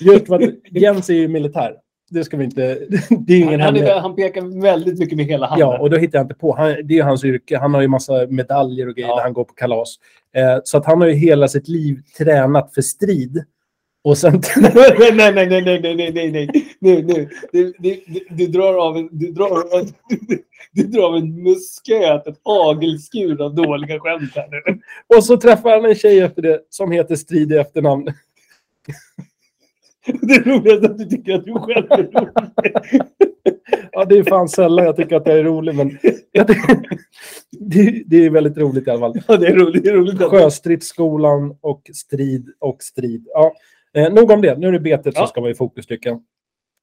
S3: Just för att Jens är ju militär. Det ska vi inte... Det är ju ingen
S2: Han, han, är,
S3: hemlighet.
S2: väl- han pekar väldigt mycket med hela handen.
S3: Ja, och då hittar jag inte på. Han, det är ju hans yrke. Han har ju massa medaljer och grejer
S2: Ja.
S3: när han går på kalas. Eh, så att han har ju hela sitt liv tränat för strid. Och sen...
S2: nej, nej, nej, nej, nej, nej, nej, nej, nej, nu, nu. Du, du, du, du drar av en, du drar av en, du drar av en musköt, ett agelskur av dåliga skämt här nu.
S3: och så träffar han en tjej efter det som heter Strid i efternamn.
S2: Det är roligt att du tycker att du själv är rolig.
S3: Ja, det är fan sällan jag tycker att jag är rolig, men jag tycker- det, det är väldigt roligt i alla fall.
S2: Ja, det är roligt, det är roligt. att-
S3: Sjöstridsskolan och strid och strid. Ja, eh, nog om det. Nu är det betet som
S2: Ja.
S3: ska vara i fokus, tycker jag.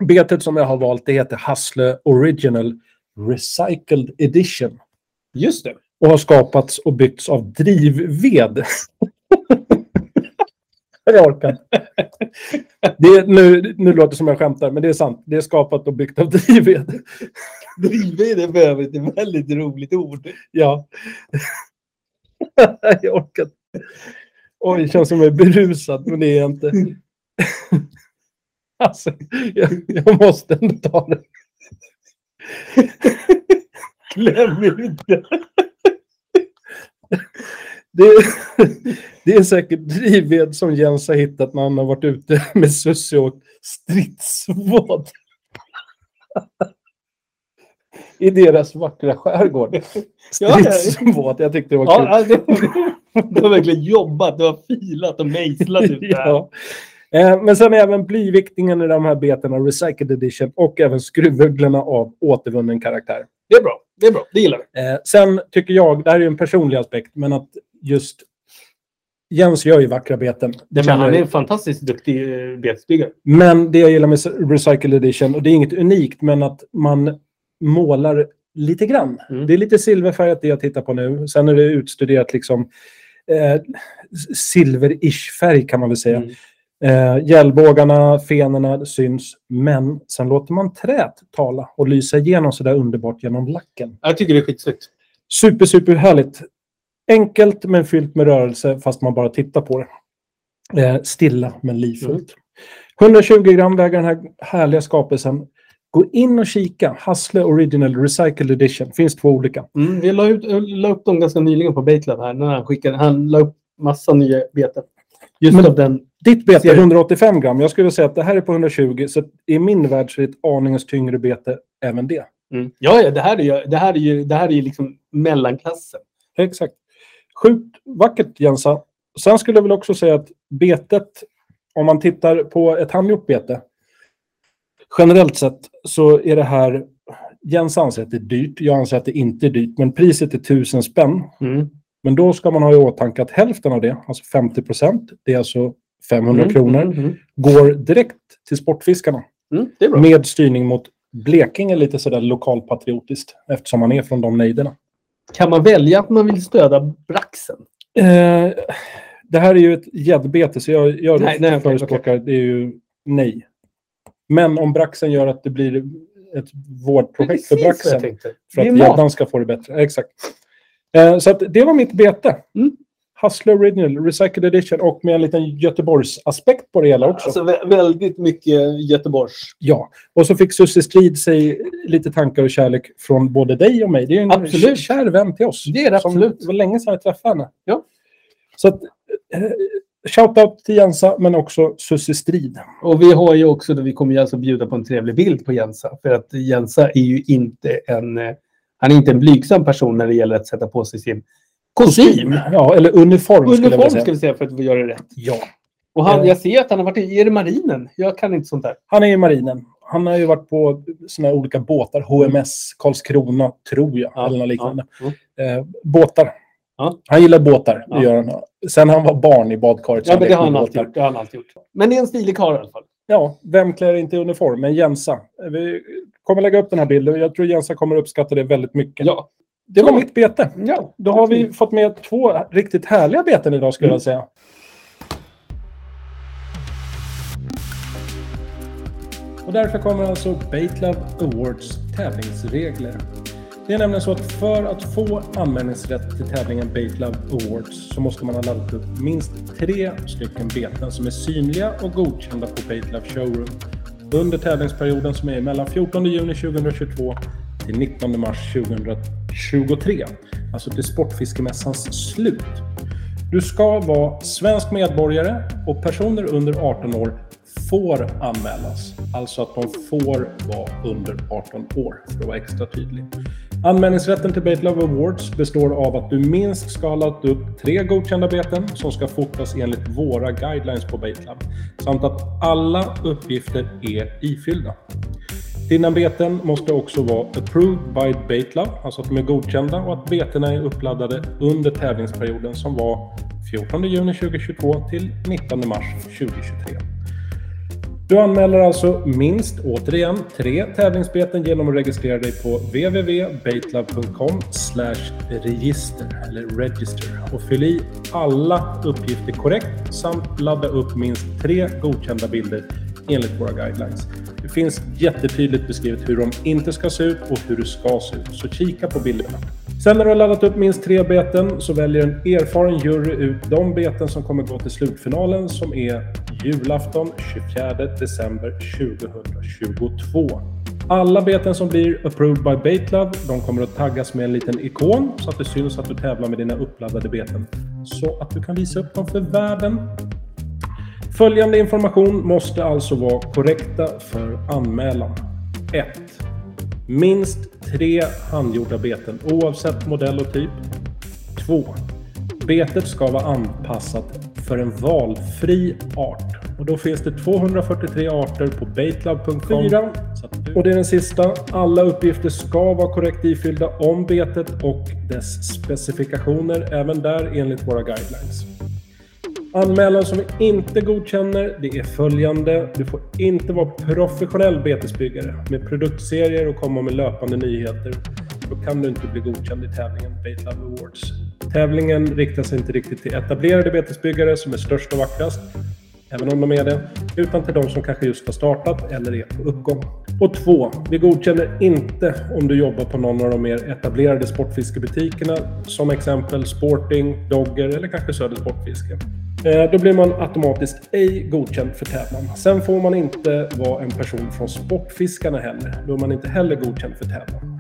S3: Betet som jag har valt det heter Hassle Original Recycled Edition
S2: Just det.
S3: och har skapats och byggts av drivved. jag orkar inte. det är, nu, nu låter det som jag skämtar, men det är sant. Det är skapat och byggt av drivved.
S2: Drivved är för övrigt ett väldigt roligt ord.
S3: Ja. jag orkar inte. Oj, det känns som jag är berusad, men det är jag inte. Alltså, jag, jag måste ändå ta det.
S2: Glöm inte.
S3: Det är, det är säkert drivved som Jens har hittat när han har varit ute med Sussie och åkt stridsvåd. I deras vackra skärgård.
S2: Ja, ja.
S3: Stridsvåd, jag tyckte det var kul.
S2: Ja, det du har verkligen jobbat, du har filat och mejslat ut det här.
S3: ja. Eh, Men sen är även blyviktningen i de här betena Recycled Edition och även skruvugglorna av återvunnen karaktär.
S2: Det är bra, det är bra, det gillar vi.
S3: Eh, Sen tycker jag, det här är ju en personlig aspekt, men att just Jens gör ju vackra beten. Det
S2: Men
S3: känner
S2: han
S3: jag
S2: är
S3: ju.
S2: en fantastiskt duktig eh, betesbyggare.
S3: men det jag gillar med Recycled Edition, och det är inget unikt, men att man målar lite grann.
S2: Mm.
S3: Det är lite silverfärgat det jag tittar på nu. Sen är det utstuderat liksom eh, silver-ish färg kan man väl säga.
S2: Mm.
S3: Eh, Hjälbågarna, fenorna syns, men sen låter man träet tala och lysa igenom sådär underbart genom lacken.
S2: Jag tycker det är skitsnyggt.
S3: Super, super härligt. Enkelt men fyllt med rörelse fast man bara tittar på det. Eh, stilla men livfullt. 120 gram väger den här härliga skapelsen. Gå in och kika. Hassle Original Recycled Edition. Finns två olika.
S2: Mm, vi la, ut, la upp dem ganska nyligen på Baitlab här när han skickade. Han la upp massa nya beten. Just
S3: Men-
S2: av den.
S3: Ditt bete
S2: Ser
S3: är
S2: du?
S3: 185 gram. Jag skulle säga att det här är på 120. Så att i min värld så är det ett aningens tyngre bete även det.
S2: Mm. Ja, ja, det här är ju, det här är ju, det här är ju liksom mellanklassen.
S3: Exakt. Sjukt vackert, Jensa. Sen skulle jag väl också säga att betet, om man tittar på ett handgjort bete, generellt sett så är det här... Jens anser att det är dyrt, jag anser att det inte är dyrt, men priset är 1000 spänn.
S2: Mm.
S3: Men då ska man ha i åtanke att hälften av det, alltså 50 procent, det är alltså 500
S2: Mm,
S3: kronor,
S2: mm, mm.
S3: går direkt till Sportfiskarna.
S2: Mm, det är bra.
S3: Med styrning mot Blekinge lite sådär lokalpatriotiskt, eftersom man är från de nejderna.
S2: Kan man välja att man vill stödja braxen?
S3: Eh, det här är ju ett gäddbete, så jag, jag
S2: Nej, nej, okej,
S3: förespråkar det är ju nej. Men om braxen gör att det blir ett vårdprojekt för braxen,
S2: tänkte.
S3: för
S2: Det är
S3: att
S2: mat.
S3: gäddan ska få det bättre. Exakt. Eh, så att det var mitt bete.
S2: Mm.
S3: Hustler Original, Recycled Edition och med en liten Göteborgs-aspekt på det hela också.
S2: Alltså vä- väldigt mycket Göteborgs.
S3: Ja, och så fick Susie Strid sig lite tankar och kärlek från både dig och mig. Det är ju en
S2: Absolut.
S3: kär vän till oss.
S2: Det är det
S3: Som-
S2: absolut.
S3: Det var länge sedan jag träffade henne.
S2: Ja.
S3: Så att, eh, shout-out till Jensa, men också Susie Strid.
S2: Och vi har ju också, vi kommer ju alltså bjuda på en trevlig bild på Jensa. För att Jensa är ju inte en, eh, han är inte en blygsam person när det gäller att sätta på sig sin kostym.
S3: Ja, eller uniform, skulle jag vilja
S2: Uniform
S3: säga.
S2: ska vi säga för att vi gör det rätt.
S3: Ja.
S2: Och han,
S3: Eh.
S2: jag ser att han har varit i, är det marinen? Jag kan inte sånt där.
S3: Han är i marinen. Han har ju varit på såna här olika båtar. HMS Karlskrona, tror jag.
S2: Ja,
S3: eller något
S2: ja,
S3: liknande.
S2: ja. Mm.
S3: Eh, båtar.
S2: Ja.
S3: Han gillar båtar.
S2: Ja.
S3: Det gör han. Sen han var barn i badkaret. så
S2: Ja, men det
S3: lekte
S2: har han
S3: med
S2: alltid
S3: båtar.
S2: gjort. Det har han alltid gjort. Men det är en stilig karl i alla fall.
S3: Ja, vem klär inte i uniform? Men Jensa. Vi kommer lägga upp den här bilden. Jag tror Jensa kommer uppskatta det väldigt mycket.
S2: Ja.
S3: det var
S2: Så.
S3: mitt bete.
S2: ja.
S3: Då har vi fått med två riktigt härliga beten idag skulle
S2: Mm.
S3: jag säga. Och därför kommer alltså Baitlab Awards tävlingsregler. Det är nämligen så att för att få anmälningsrätt till tävlingen Bait Love Awards så måste man ha laddat upp minst tre stycken beten som är synliga och godkända på Bait Love Showroom under tävlingsperioden som är mellan 14 juni 2022 till 19 mars 2023. Alltså till Sportfiskemässans slut. Du ska vara svensk medborgare och personer under 18 år får anmälas. Alltså att de får vara under 18 år, för att vara extra tydlig. Anmälningsrätten till Bait Love Awards består av att du minst ska ha lagt upp tre godkända beten som ska fotas enligt våra guidelines på Bait Love, samt att alla uppgifter är ifyllda. Dina beten måste också vara approved by Baitlab, alltså att de är godkända och att betena är uppladdade under tävlingsperioden som var 14 juni 2022 till 19 mars 2023. Du anmäler alltså minst, återigen, tre tävlingsbeten genom att registrera dig på www.baitlab.com register eller register och fyll i alla uppgifter korrekt samt ladda upp minst tre godkända bilder enligt våra guidelines. Det finns jättetydligt beskrivet hur de inte ska se ut och hur det ska se ut, så kika på bilderna. Sen när du har laddat upp minst tre beten så väljer en erfaren jury ut de beten som kommer gå till slutfinalen som är julafton 24 december 2022. Alla beten som blir approved by Baitlove, de kommer att taggas med en liten ikon så att det syns att du tävlar med dina uppladdade beten. Så att du kan visa upp dem för världen. Följande information måste alltså vara korrekta för anmälan. 1. Minst tre handgjorda beten oavsett modell och typ. 2. Betet ska vara anpassat för en valfri art. Och då finns det 243 arter på baitlab.com.
S2: Fyra.
S3: Så att du- Och det är den sista. Alla uppgifter ska vara korrekt ifyllda om betet och dess specifikationer, även där enligt våra guidelines. Anmälan som vi inte godkänner, det är följande. Du får inte vara professionell betesbyggare med produktserier och komma med löpande nyheter. Då kan du inte bli godkänd i tävlingen Bait Love Awards. Tävlingen riktar sig inte riktigt till etablerade betesbyggare som är störst och vackrast, även om de är det, utan till de som kanske just har startat eller är på uppgång. Och två, vi godkänner inte om du jobbar på någon av de mer etablerade sportfiskebutikerna, som exempel Sporting, Dogger eller kanske Söder Sportfiske. Eh, Då blir man automatiskt ej godkänd för tävlan. Sen får man inte vara en person från Sportfiskarna heller. Då är man inte heller godkänd för tävlan.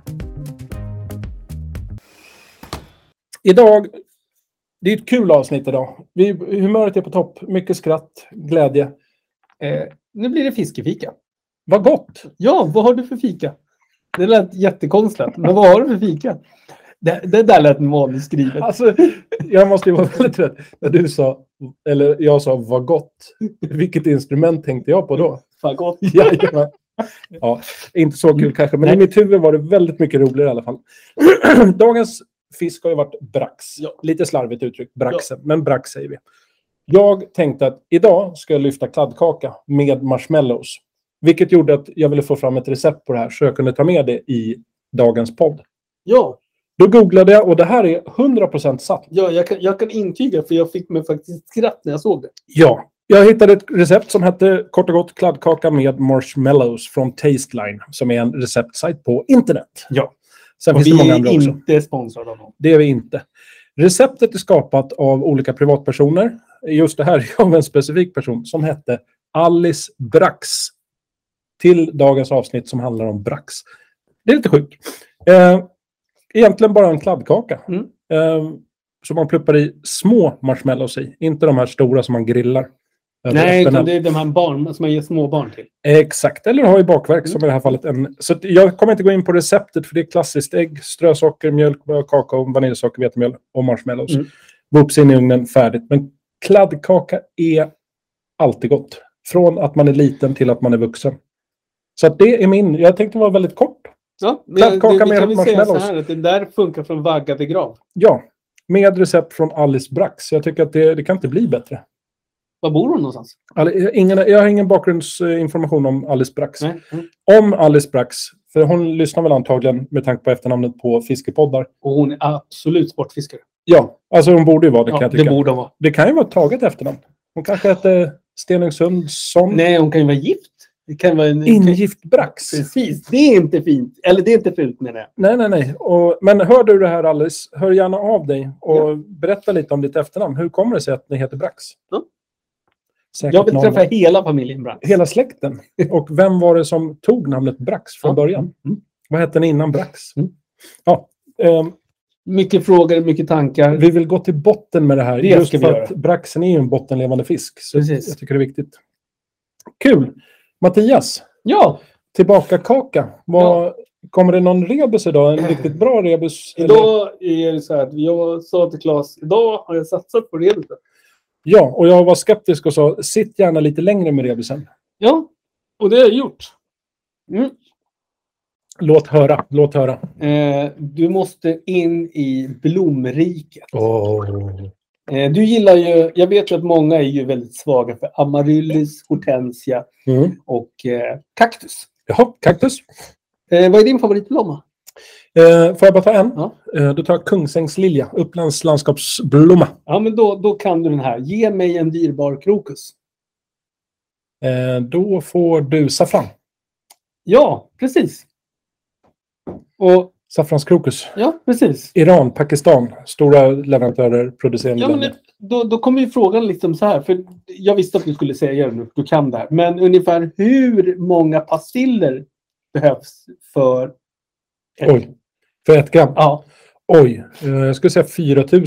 S2: Idag
S3: Det är ett kul avsnitt idag. Vi, humöret är på topp. Mycket skratt, glädje.
S2: Eh, nu blir det fiskefika.
S3: Vad gott!
S2: Ja, vad har du för fika? Det lät jättekonstigt, men vad har du för fika? Det, det där lät manusskrivet.
S3: Alltså, jag måste ju vara väldigt trött. När du sa, eller jag sa vad gott. Vilket instrument tänkte jag på då?
S2: Fan, gott.
S3: Jajamän. Ja, inte så kul kanske, men
S2: Nej.
S3: i mitt huvud var det väldigt mycket roligare i alla fall. Dagens fisk har ju varit brax.
S2: Ja.
S3: Lite slarvigt uttryckt, braxen, men brax säger vi. Jag tänkte att idag ska jag lyfta kladdkaka med marshmallows. Vilket gjorde att jag ville få fram ett recept på det här så jag kunde ta med det i dagens podd.
S2: Ja,
S3: Då googlade jag och det här är 100% sant.
S2: ja jag, kan, jag kan intyga för jag fick mig faktiskt skratt när jag såg det.
S3: Ja, jag hittade ett recept som hette kort och gott kladdkaka med marshmallows från Tasteline som är en receptsajt på internet. Ja. Sen
S2: Och
S3: finns det
S2: vi
S3: många andra
S2: är
S3: också.
S2: inte sponsrade av någon.
S3: Det är vi inte. Receptet är skapat av olika privatpersoner. Just det här är av en specifik person som hette Alice Brax. Till dagens avsnitt som handlar om Brax. Det är lite sjukt. Eh, egentligen bara en kladdkaka.
S2: Mm.
S3: Eh, som man pluppar i små marshmallows i. Inte de här stora som man grillar. över
S2: Nej,
S3: öppen
S2: utan
S3: eld.
S2: det är de här barn som man ger småbarn till.
S3: Exakt, eller ha i bakverk som i det här fallet. En, så att jag kommer inte gå in på receptet för det är klassiskt ägg, strösocker, mjölk, kakao, vaniljsocker, vetemjöl och marshmallows.
S2: Mm.
S3: Whoops in i ugnen, färdigt. Men kladdkaka är alltid gott. Från att man är liten till att man är vuxen. Så att det är min, jag tänkte vara väldigt kort.
S2: Ja,
S3: Kladdkaka
S2: vi
S3: med
S2: kan väl säga så
S3: marshmallows.
S2: här att det där funkar från vagga till grav.
S3: Ja, med recept från Alice Brax. Jag tycker att det, det kan inte bli bättre.
S2: Var bor hon någonstans?
S3: All- jag har Ingen, jag har ingen bakgrundsinformation om Alice Brax.
S2: Nej. Mm.
S3: om Alice Brax, för hon lyssnar väl antagligen med tanke på efternamnet på fiskepoddar.
S2: Och hon är absolut sportfiskare.
S3: Ja, alltså hon borde ju vara det kan
S2: Ja,
S3: jag
S2: det
S3: tycka. Det,
S2: borde hon vara.
S3: kan ju vara ett taget efternamn. Hon kanske hette Stenungsundsson.
S2: Nej, hon kan ju vara gift. Det kan vara en...
S3: Ingiftbrax.
S2: Precis, det är inte fint. Eller det är inte fult menar jag.
S3: Nej, nej, nej. Och, men hör du det här Alice, hör gärna av dig och berätta lite om ditt efternamn. Hur kommer det sig att ni heter Brax?
S2: Ja.
S3: Säkert
S2: Jag vill
S3: någon-
S2: träffa hela familjen Brax.
S3: hela släkten. Och vem var det som tog namnet Brax från
S2: Ja.
S3: början?
S2: Mm.
S3: Vad hette ni innan Brax?
S2: Mm.
S3: Ja, ehm,
S2: Mycket frågor, mycket tankar.
S3: vi vill gå till botten med det här.
S2: Det
S3: just
S2: ska vi
S3: för
S2: göra.
S3: att braxen är ju en bottenlevande fisk. Så
S2: Precis.
S3: jag tycker det är viktigt. Kul! Mattias,
S2: Ja,
S3: tillbaka kaka. Vad, Kommer det någon rebus idag? En riktigt bra rebus? eller?
S2: idag är det så här att jag sa till Claes, idag har jag satsat på rebusen.
S3: Ja, och jag var skeptisk och sa sitt gärna lite längre med rebusen.
S2: Ja, och det har jag gjort. Mm.
S3: Låt höra, låt höra.
S2: Eh, du måste in i blomriket.
S3: Oh.
S2: Eh, du gillar ju, jag vet ju att många är ju väldigt svaga för amaryllis, hortensia
S3: Mm.
S2: och eh, kaktus.
S3: Jaha, kaktus.
S2: Eh, vad är din favoritblomma?
S3: Eh, får jag bara ta en?
S2: Ja.
S3: Eh, då tar jag Kungsängslilja, Upplands landskapsblomma.
S2: Ja, men då, då kan du den här. Ge mig en dyrbar krokus.
S3: Eh, då får du saffran.
S2: Ja, precis. Och,
S3: Saffranskrokus.
S2: ja, precis.
S3: Iran, Pakistan, stora leverantörer, producerande
S2: Ja, men
S3: länder.
S2: då, då kommer ju frågan liksom så här. För jag visste att du skulle säga det nu. Du kan det här. Men ungefär hur många pastiller behövs för...
S3: Oj, för ett gram.
S2: Ja,
S3: Oj, eh, jag skulle säga 4 000.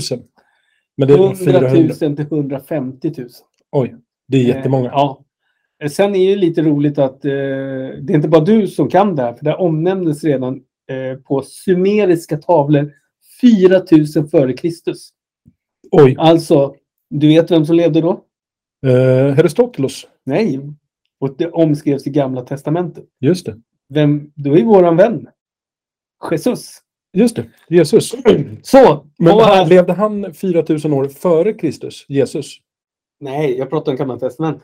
S3: Men det är nog
S2: 100 000
S3: 400.
S2: till 150 000.
S3: Oj, det är jättemånga.
S2: Eh, ja. Eh, Sen är det lite roligt att eh, det är inte bara du som kan det här. För det här omnämndes redan eh, på sumeriska tavlor 4000 före Kristus.
S3: Oj,
S2: Alltså, du vet vem som levde då?
S3: eh, Herostotelos.
S2: Nej. Och det omskrevs i Gamla Testamentet.
S3: Just det.
S2: Vem, då är våran vän. Jesus.
S3: Just det, Jesus.
S2: Så!
S3: Men
S2: och här-
S3: han, levde han 4 000 år före Kristus, Jesus?
S2: Nej, jag pratar om Gamla Testamentet.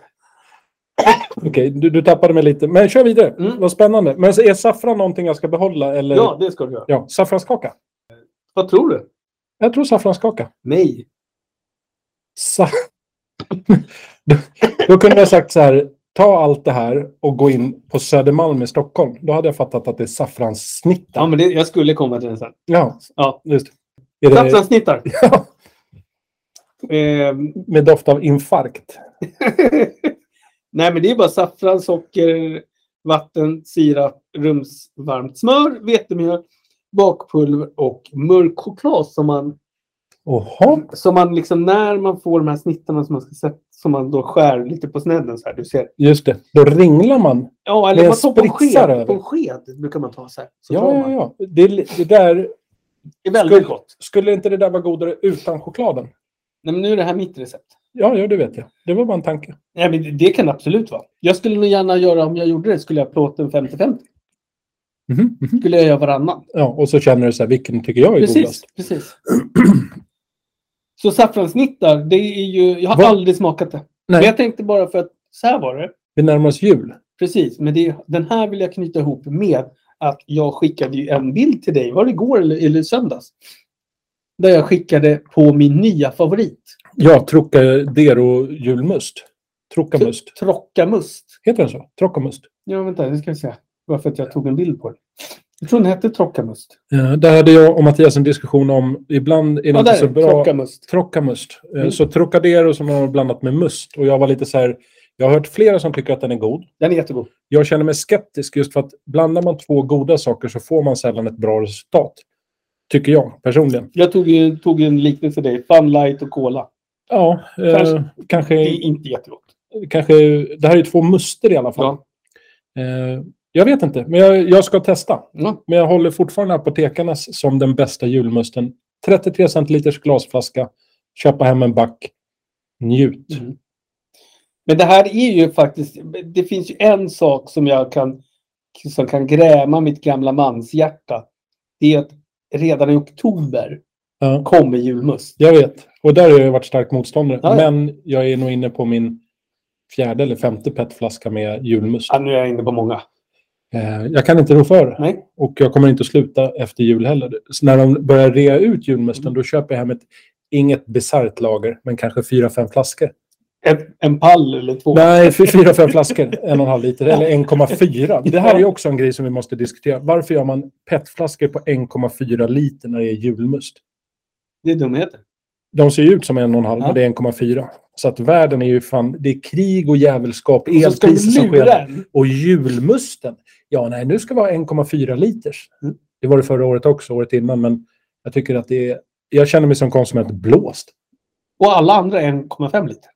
S3: Okej, du, du tappade mig lite. Men kör vidare.
S2: Mm.
S3: Vad spännande. Men så är saffran någonting jag ska behålla? Eller?
S2: Ja, det ska du göra.
S3: ja. Saffranskaka.
S2: Vad tror du?
S3: Jag tror saffranskaka.
S2: Nej.
S3: Sa- då, då kunde jag sagt så här. Ta allt det här och gå in på Södermalm i Stockholm. Då hade jag fattat att det är saffranssnittar.
S2: Ja, men det, jag skulle komma till den sen.
S3: Ja,
S2: Ja.
S3: just det. Är det
S2: Saffranssnittar.
S3: Ja,
S2: Ehm,
S3: med doft av infarkt?
S2: Nej, men det är bara saffran, socker, vatten, sirap, rumsvarmt smör, vetemjöl, bakpulver och mörk choklad som man,
S3: Jaha.
S2: som man liksom när man får de här snittarna som man ska sätta som man då skär lite på snedden så här. Du ser.
S3: Just det. Då ringlar man
S2: Ja,
S3: Men
S2: eller man tar
S3: jag
S2: på en
S3: spritsar
S2: sked.
S3: över.
S2: På en sked brukar man ta så här. Så
S3: Ja,
S2: drar
S3: ja,
S2: man.
S3: ja. Det, det där,
S2: Det är väldigt
S3: Skulle-
S2: gott.
S3: skulle inte det där vara godare utan chokladen?
S2: Nej, men nu är det här mitt recept.
S3: Ja, ja, det vet jag. Det var bara en tanke.
S2: Nej, men det- det kan det absolut vara. Jag skulle nog gärna göra, om jag gjorde det, skulle jag plåta en 50-50.
S3: Mhm, mhm.
S2: Skulle jag göra varannan.
S3: Ja, och så känner du så här, vilken tycker jag är
S2: Precis,
S3: godast?
S2: precis. Så saffranssnittar, det är ju... Jag har
S3: Vad-
S2: aldrig smakat det.
S3: Nej.
S2: Men jag tänkte bara för att så här var det.
S3: Vi närmar oss jul.
S2: Precis, men det, den här vill jag knyta ihop med att jag skickade ju en bild till dig, var det igår eller, eller söndags? Där jag skickade på min nya favorit,
S3: Ja, Trocadero julmust. Trocamust.
S2: Trockamust.
S3: Heter den så? Trocamust.
S2: Ja, vänta, nu ska vi se varför att jag tog en bild på det. Jag tror den hette Trockamust.
S3: Eh, Där hade jag och Mattias en diskussion om, ibland är det
S2: Ja,
S3: inte
S2: där
S3: så
S2: är det.
S3: bra...
S2: Trockamust.
S3: Trocamust. Eh,
S2: Mm.
S3: Så Trocadero som de har blandat med must. Och jag var lite så här, jag har hört flera som tycker att den är god.
S2: Den är jättegod.
S3: Jag känner mig skeptisk just för att blandar man två goda saker så får man sällan ett bra resultat. Tycker jag personligen.
S2: Jag tog ju tog ju en liknelse till dig, Funlight och Cola.
S3: Ja, eh,
S2: Kanske. Det är
S3: kanske,
S2: inte jättegott.
S3: kanske... Det här är ju två muster i alla fall.
S2: Ja.
S3: Eh, jag vet inte, men jag, jag ska testa.
S2: Ja.
S3: Men jag håller fortfarande Apotekarnas som den bästa julmusten. 33 centiliters glasflaska. Köpa hem en back. Njut.
S2: Mm. Men det här är ju faktiskt, det finns ju en sak som jag kan, som kan gräma mitt gamla manshjärta. Det är att redan i oktober
S3: Ja,
S2: kommer julmust.
S3: jag vet. Och där har jag varit stark motståndare.
S2: Ja, ja.
S3: Men jag är nog inne på min fjärde eller femte petflaska med julmust.
S2: Ja, nu är jag inne på många.
S3: Eh, jag kan inte rå för det.
S2: Nej.
S3: Och jag kommer inte att sluta efter jul heller. Så när de börjar
S2: Mm.
S3: rea ut julmusten, då köper jag hem ett, inget bisarrt lager, men kanske fyra, fem flaskor.
S2: en, en pall eller två.
S3: Nej, fy- fyra, fem flaskor, en och en halv liter eller 1,4. Det här är ju också en grej som vi måste diskutera. Varför gör man PET-flaskor på 1,4 liter när det är julmust?
S2: Det är dumheter.
S3: De ser ju ut som en och en halv,
S2: Ja.
S3: men det är 1,4. Så att världen är ju fan... Det är krig och jävelskap,
S2: Och så ska
S3: elpriser
S2: vi
S3: som
S2: lura
S3: sker.
S2: en.
S3: Och julmusten. Ja, nej, nu ska vara 1,4 liters.
S2: Mm.
S3: Det var det förra året också, året innan, men jag tycker att det är... Jag känner mig som konsument blåst.
S2: Och alla andra 1,5 liter.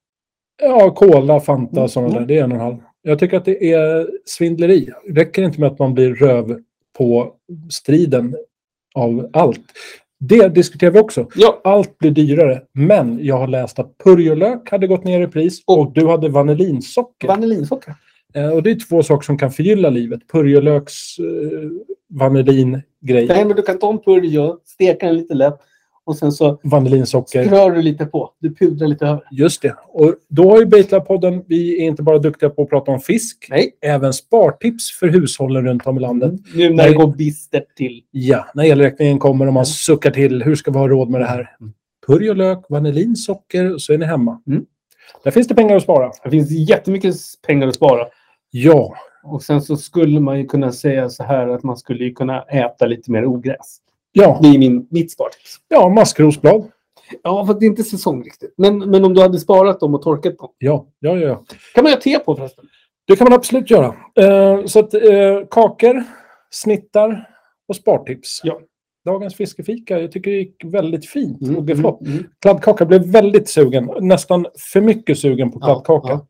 S3: Ja, cola, Fanta
S2: Mm.
S3: och sådana där. Det är en och en halv. Jag tycker att det är svindleri. Det räcker inte med att man blir röv på striden av allt. Det diskuterar vi också.
S2: Ja.
S3: Allt blir dyrare, men jag har läst att purjolök hade gått ner i pris och du hade vaniljsocker.
S2: Vaniljsocker.
S3: Eh, och det är två saker som kan förgylla livet. Purjolöks eh, vaniljgrej,
S2: Nej, men du kan ta en purjo, steka den lite lätt och sen så
S3: vaniljsocker.
S2: rör du lite på. Du pudrar lite över.
S3: Just det. Och då har ju Baitlab-podden, vi är inte bara duktiga på att prata om fisk,
S2: Nej.
S3: även spartips för hushållen runt om i landet.
S2: Nu när
S3: Nej.
S2: det går bistert till.
S3: Ja, när elräkningen kommer och man suckar till, hur ska vi ha råd med det här?
S2: Mm.
S3: Purjolök, vanilin, socker och så är ni hemma.
S2: Mm.
S3: Där finns det pengar att spara.
S2: Det finns jättemycket pengar att spara.
S3: Ja,
S2: Och sen så skulle man ju kunna säga så här att man skulle ju kunna äta lite mer ogräs.
S3: ja,
S2: Det är min, mitt spartips.
S3: ja maskrosblad.
S2: Ja, för det är inte säsong riktigt. Men, men om du hade sparat dem och torkat dem.
S3: Ja, ja, ja, ja.
S2: kan man göra te på förresten.
S3: Det kan man absolut göra. Eh, så att eh, kakor, snittar och spartips.
S2: Ja.
S3: Dagens fiskefika, jag tycker det gick väldigt fint och blev
S2: Mm,
S3: flott.
S2: mm, mm.
S3: Kladdkaka blev väldigt sugen, nästan för mycket sugen på
S2: Ja,
S3: kladdkaka.
S2: ja.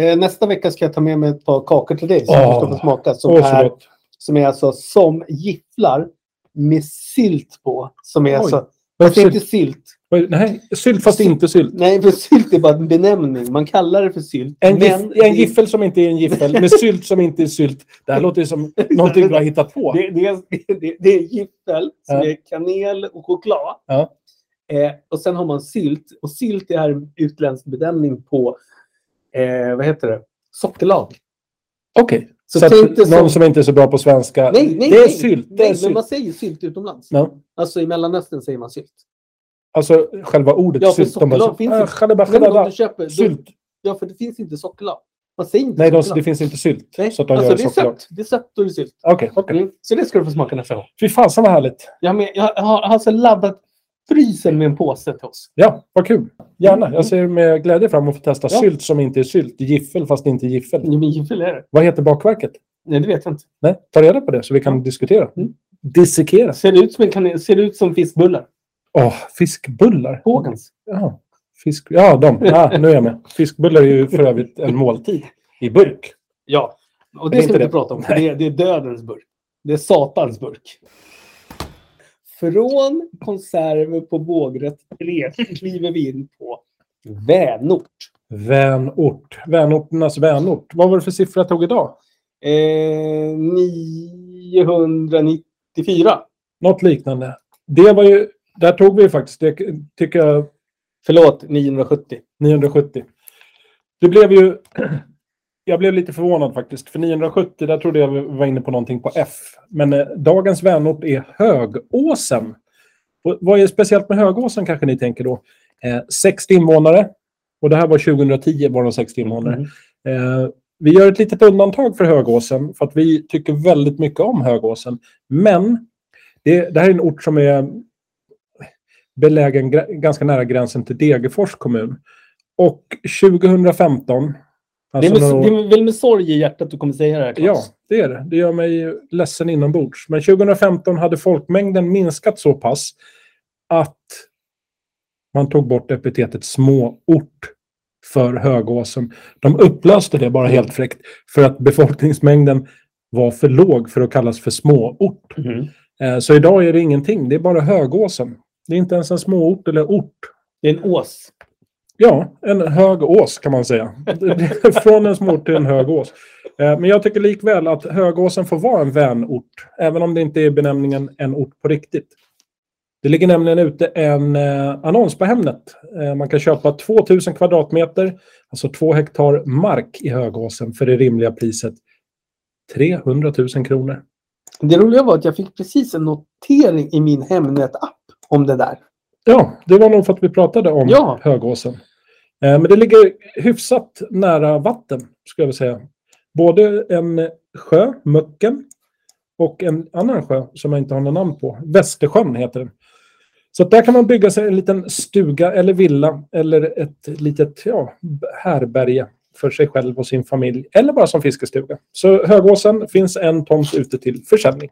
S2: Eh, nästa vecka ska jag ta med mig ett par kakor till dig som
S3: Åh.
S2: du ska få smaka. Som,
S3: Åh, så
S2: är,
S3: gott.
S2: som är alltså som gifflar med sylt på. Som är
S3: Oj.
S2: alltså,
S3: Varför
S2: det är inte
S3: sylt?
S2: sylt.
S3: Vad är- Nej, sylt fast inte sylt.
S2: Nej, för sylt är bara en benämning. Man kallar det för sylt.
S3: En,
S2: men
S3: gif,
S2: det-
S3: en giffel som inte är en giffel, med sylt som inte är sylt. Det här låter ju som någonting du har hittat på.
S2: Det, det, är- det, det är giffel som
S3: Ja.
S2: är kanel och choklad.
S3: Ja.
S2: Eh, och sen har man sylt. Och sylt är en utländsk benämning på, eh, vad heter det, sockerlag.
S3: Okej,
S2: Så
S3: så,
S2: tänk
S3: att
S2: dig
S3: någon
S2: som-
S3: som inte är så bra på svenska.
S2: Nej, nej,
S3: det är
S2: nej.
S3: sylt. Det
S2: nej,
S3: är
S2: men
S3: sylt.
S2: man säger sylt utomlands.
S3: Ja.
S2: Alltså i Mellanöstern säger man sylt.
S3: Alltså själva ordet
S2: Ja, för
S3: sylt. De bara,
S2: sockerlag
S3: så-
S2: finns
S3: "Ah,
S2: inte."
S3: jalaba,
S2: Nej, men om
S3: jalaba,
S2: du köper, då,
S3: Sylt.
S2: ja, för det finns inte sockerlag. Man säger inte
S3: Nej, de,
S2: sockerlag.
S3: det finns inte sylt.
S2: Nej,
S3: Så att de
S2: alltså,
S3: gör
S2: det är
S3: sockerlag.
S2: sött. Det är sött och det är sylt.
S3: Okej, okej.
S2: Mm. Så det ska du få smaka nästa gång.
S3: Fy fasen vad härligt.
S2: Jag, men, jag har har alltså laddat frysen med en påse till oss.
S3: Ja, vad kul. Gärna. Jag ser med glädje fram emot att få testa
S2: Ja.
S3: sylt som inte är sylt. Giffel fast inte giffel.
S2: Ja, men giffel är det.
S3: Vad heter bakverket?
S2: Nej, det vet jag inte.
S3: Nej, ta reda på det så vi kan diskutera.
S2: Mm.
S3: Dissekera.
S2: Ser det ut som, en kanel, ser det ut som fiskbullar?
S3: Åh, fiskbullar.
S2: Hågens.
S3: Ja, fisk... ja de. Ja, nu är jag med. Fiskbullar är ju för övrigt en måltid i burk.
S2: Ja. Och
S3: Det
S2: det
S3: är
S2: ska
S3: inte
S2: vi inte
S3: det.
S2: prata om. För det, är, det är dödens burk. Det är satans burk. Från konserver på vågrätt 3 kliver vi in på vänort.
S3: Vänort. Vänorternas vänort. Vad var det för siffra jag tog idag?
S2: Eh, 994.
S3: Något liknande. Det var ju... Där tog vi ju faktiskt, det tycker jag,
S2: Förlåt, 970.
S3: 970. Det blev ju... Jag blev lite förvånad faktiskt. För 970, där trodde jag vi var inne på någonting på F. Men eh, dagens vänort är Högåsen. Och vad är speciellt med Högåsen kanske ni tänker då? Eh, 60 invånare. Och det här var 2010, bara de 60 invånare.
S2: Mm.
S3: Eh, vi gör ett litet undantag för Högåsen för att vi tycker väldigt mycket om Högåsen. Men det, det här är en ort som är belägen gra- ganska nära gränsen till Degerfors kommun. Och 2015...
S2: Det, är
S3: Alltså
S2: med,
S3: några år-
S2: det är väl med sorg i hjärtat du kommer säga det här, Claes?
S3: Ja, det är det. Det gör mig ju ledsen inombords. Men 2015 hade folkmängden minskat så pass att man tog bort epitetet småort för Högåsen. De upplöste det bara helt fräckt för att befolkningsmängden var för låg för att kallas för småort.
S2: Mhm.
S3: Eh, Så idag är det ingenting. Det är bara Högåsen. Det är inte ens en småort eller ort.
S2: Det är en ås.
S3: Ja, en hög ås kan man säga. Från en småort till en hög ås. Eh, Men jag tycker likväl att högåsen får vara en vänort, även om det inte är benämningen en ort på riktigt. Det ligger nämligen ute en eh, annons på Hemnet. Eh, man kan köpa 2000 kvadratmeter, alltså två hektar mark i högåsen för det rimliga priset 300 000 kronor.
S2: Det roliga var att jag fick precis en notering i min Hemnet-app om det där.
S3: Ja, det var nog för att vi pratade om
S2: Ja.
S3: högåsen. Eh, Men det ligger hyfsat nära vatten, skulle jag vilja säga. Både en sjö, Möcken, och en annan sjö som jag inte har något namn på. Västersjön heter den. Så att där kan man bygga sig en liten stuga eller villa eller ett litet ja, härberge för sig själv och sin familj. Eller bara som fiskestuga. Så Högåsen finns en tomt ute till försäljning.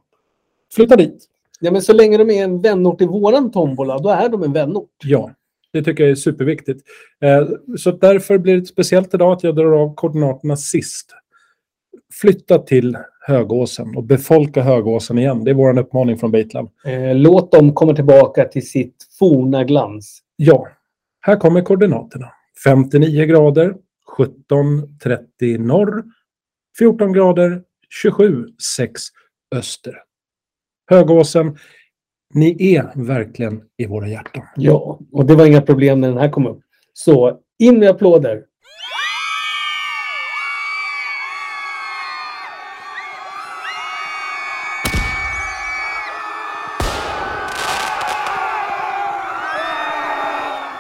S3: Flytta dit.
S2: Ja, men så länge de är en vänort till våran tombola, då är de en vänort.
S3: Ja, det tycker jag är superviktigt. Eh, Så därför blir det speciellt idag att jag drar av koordinaterna sist. Flytta till Högåsen och befolka Högåsen igen. Det är vår uppmaning från Baitland.
S2: Eh, låt dem komma tillbaka till sitt forna glans.
S3: Ja, här kommer koordinaterna. 59 grader, 17.30 norr, 14 grader, 27.6 öster. Högåsen, ni är verkligen i våra hjärtan.
S2: Ja, och det var inga problem när den här kom upp. Så in med applåder.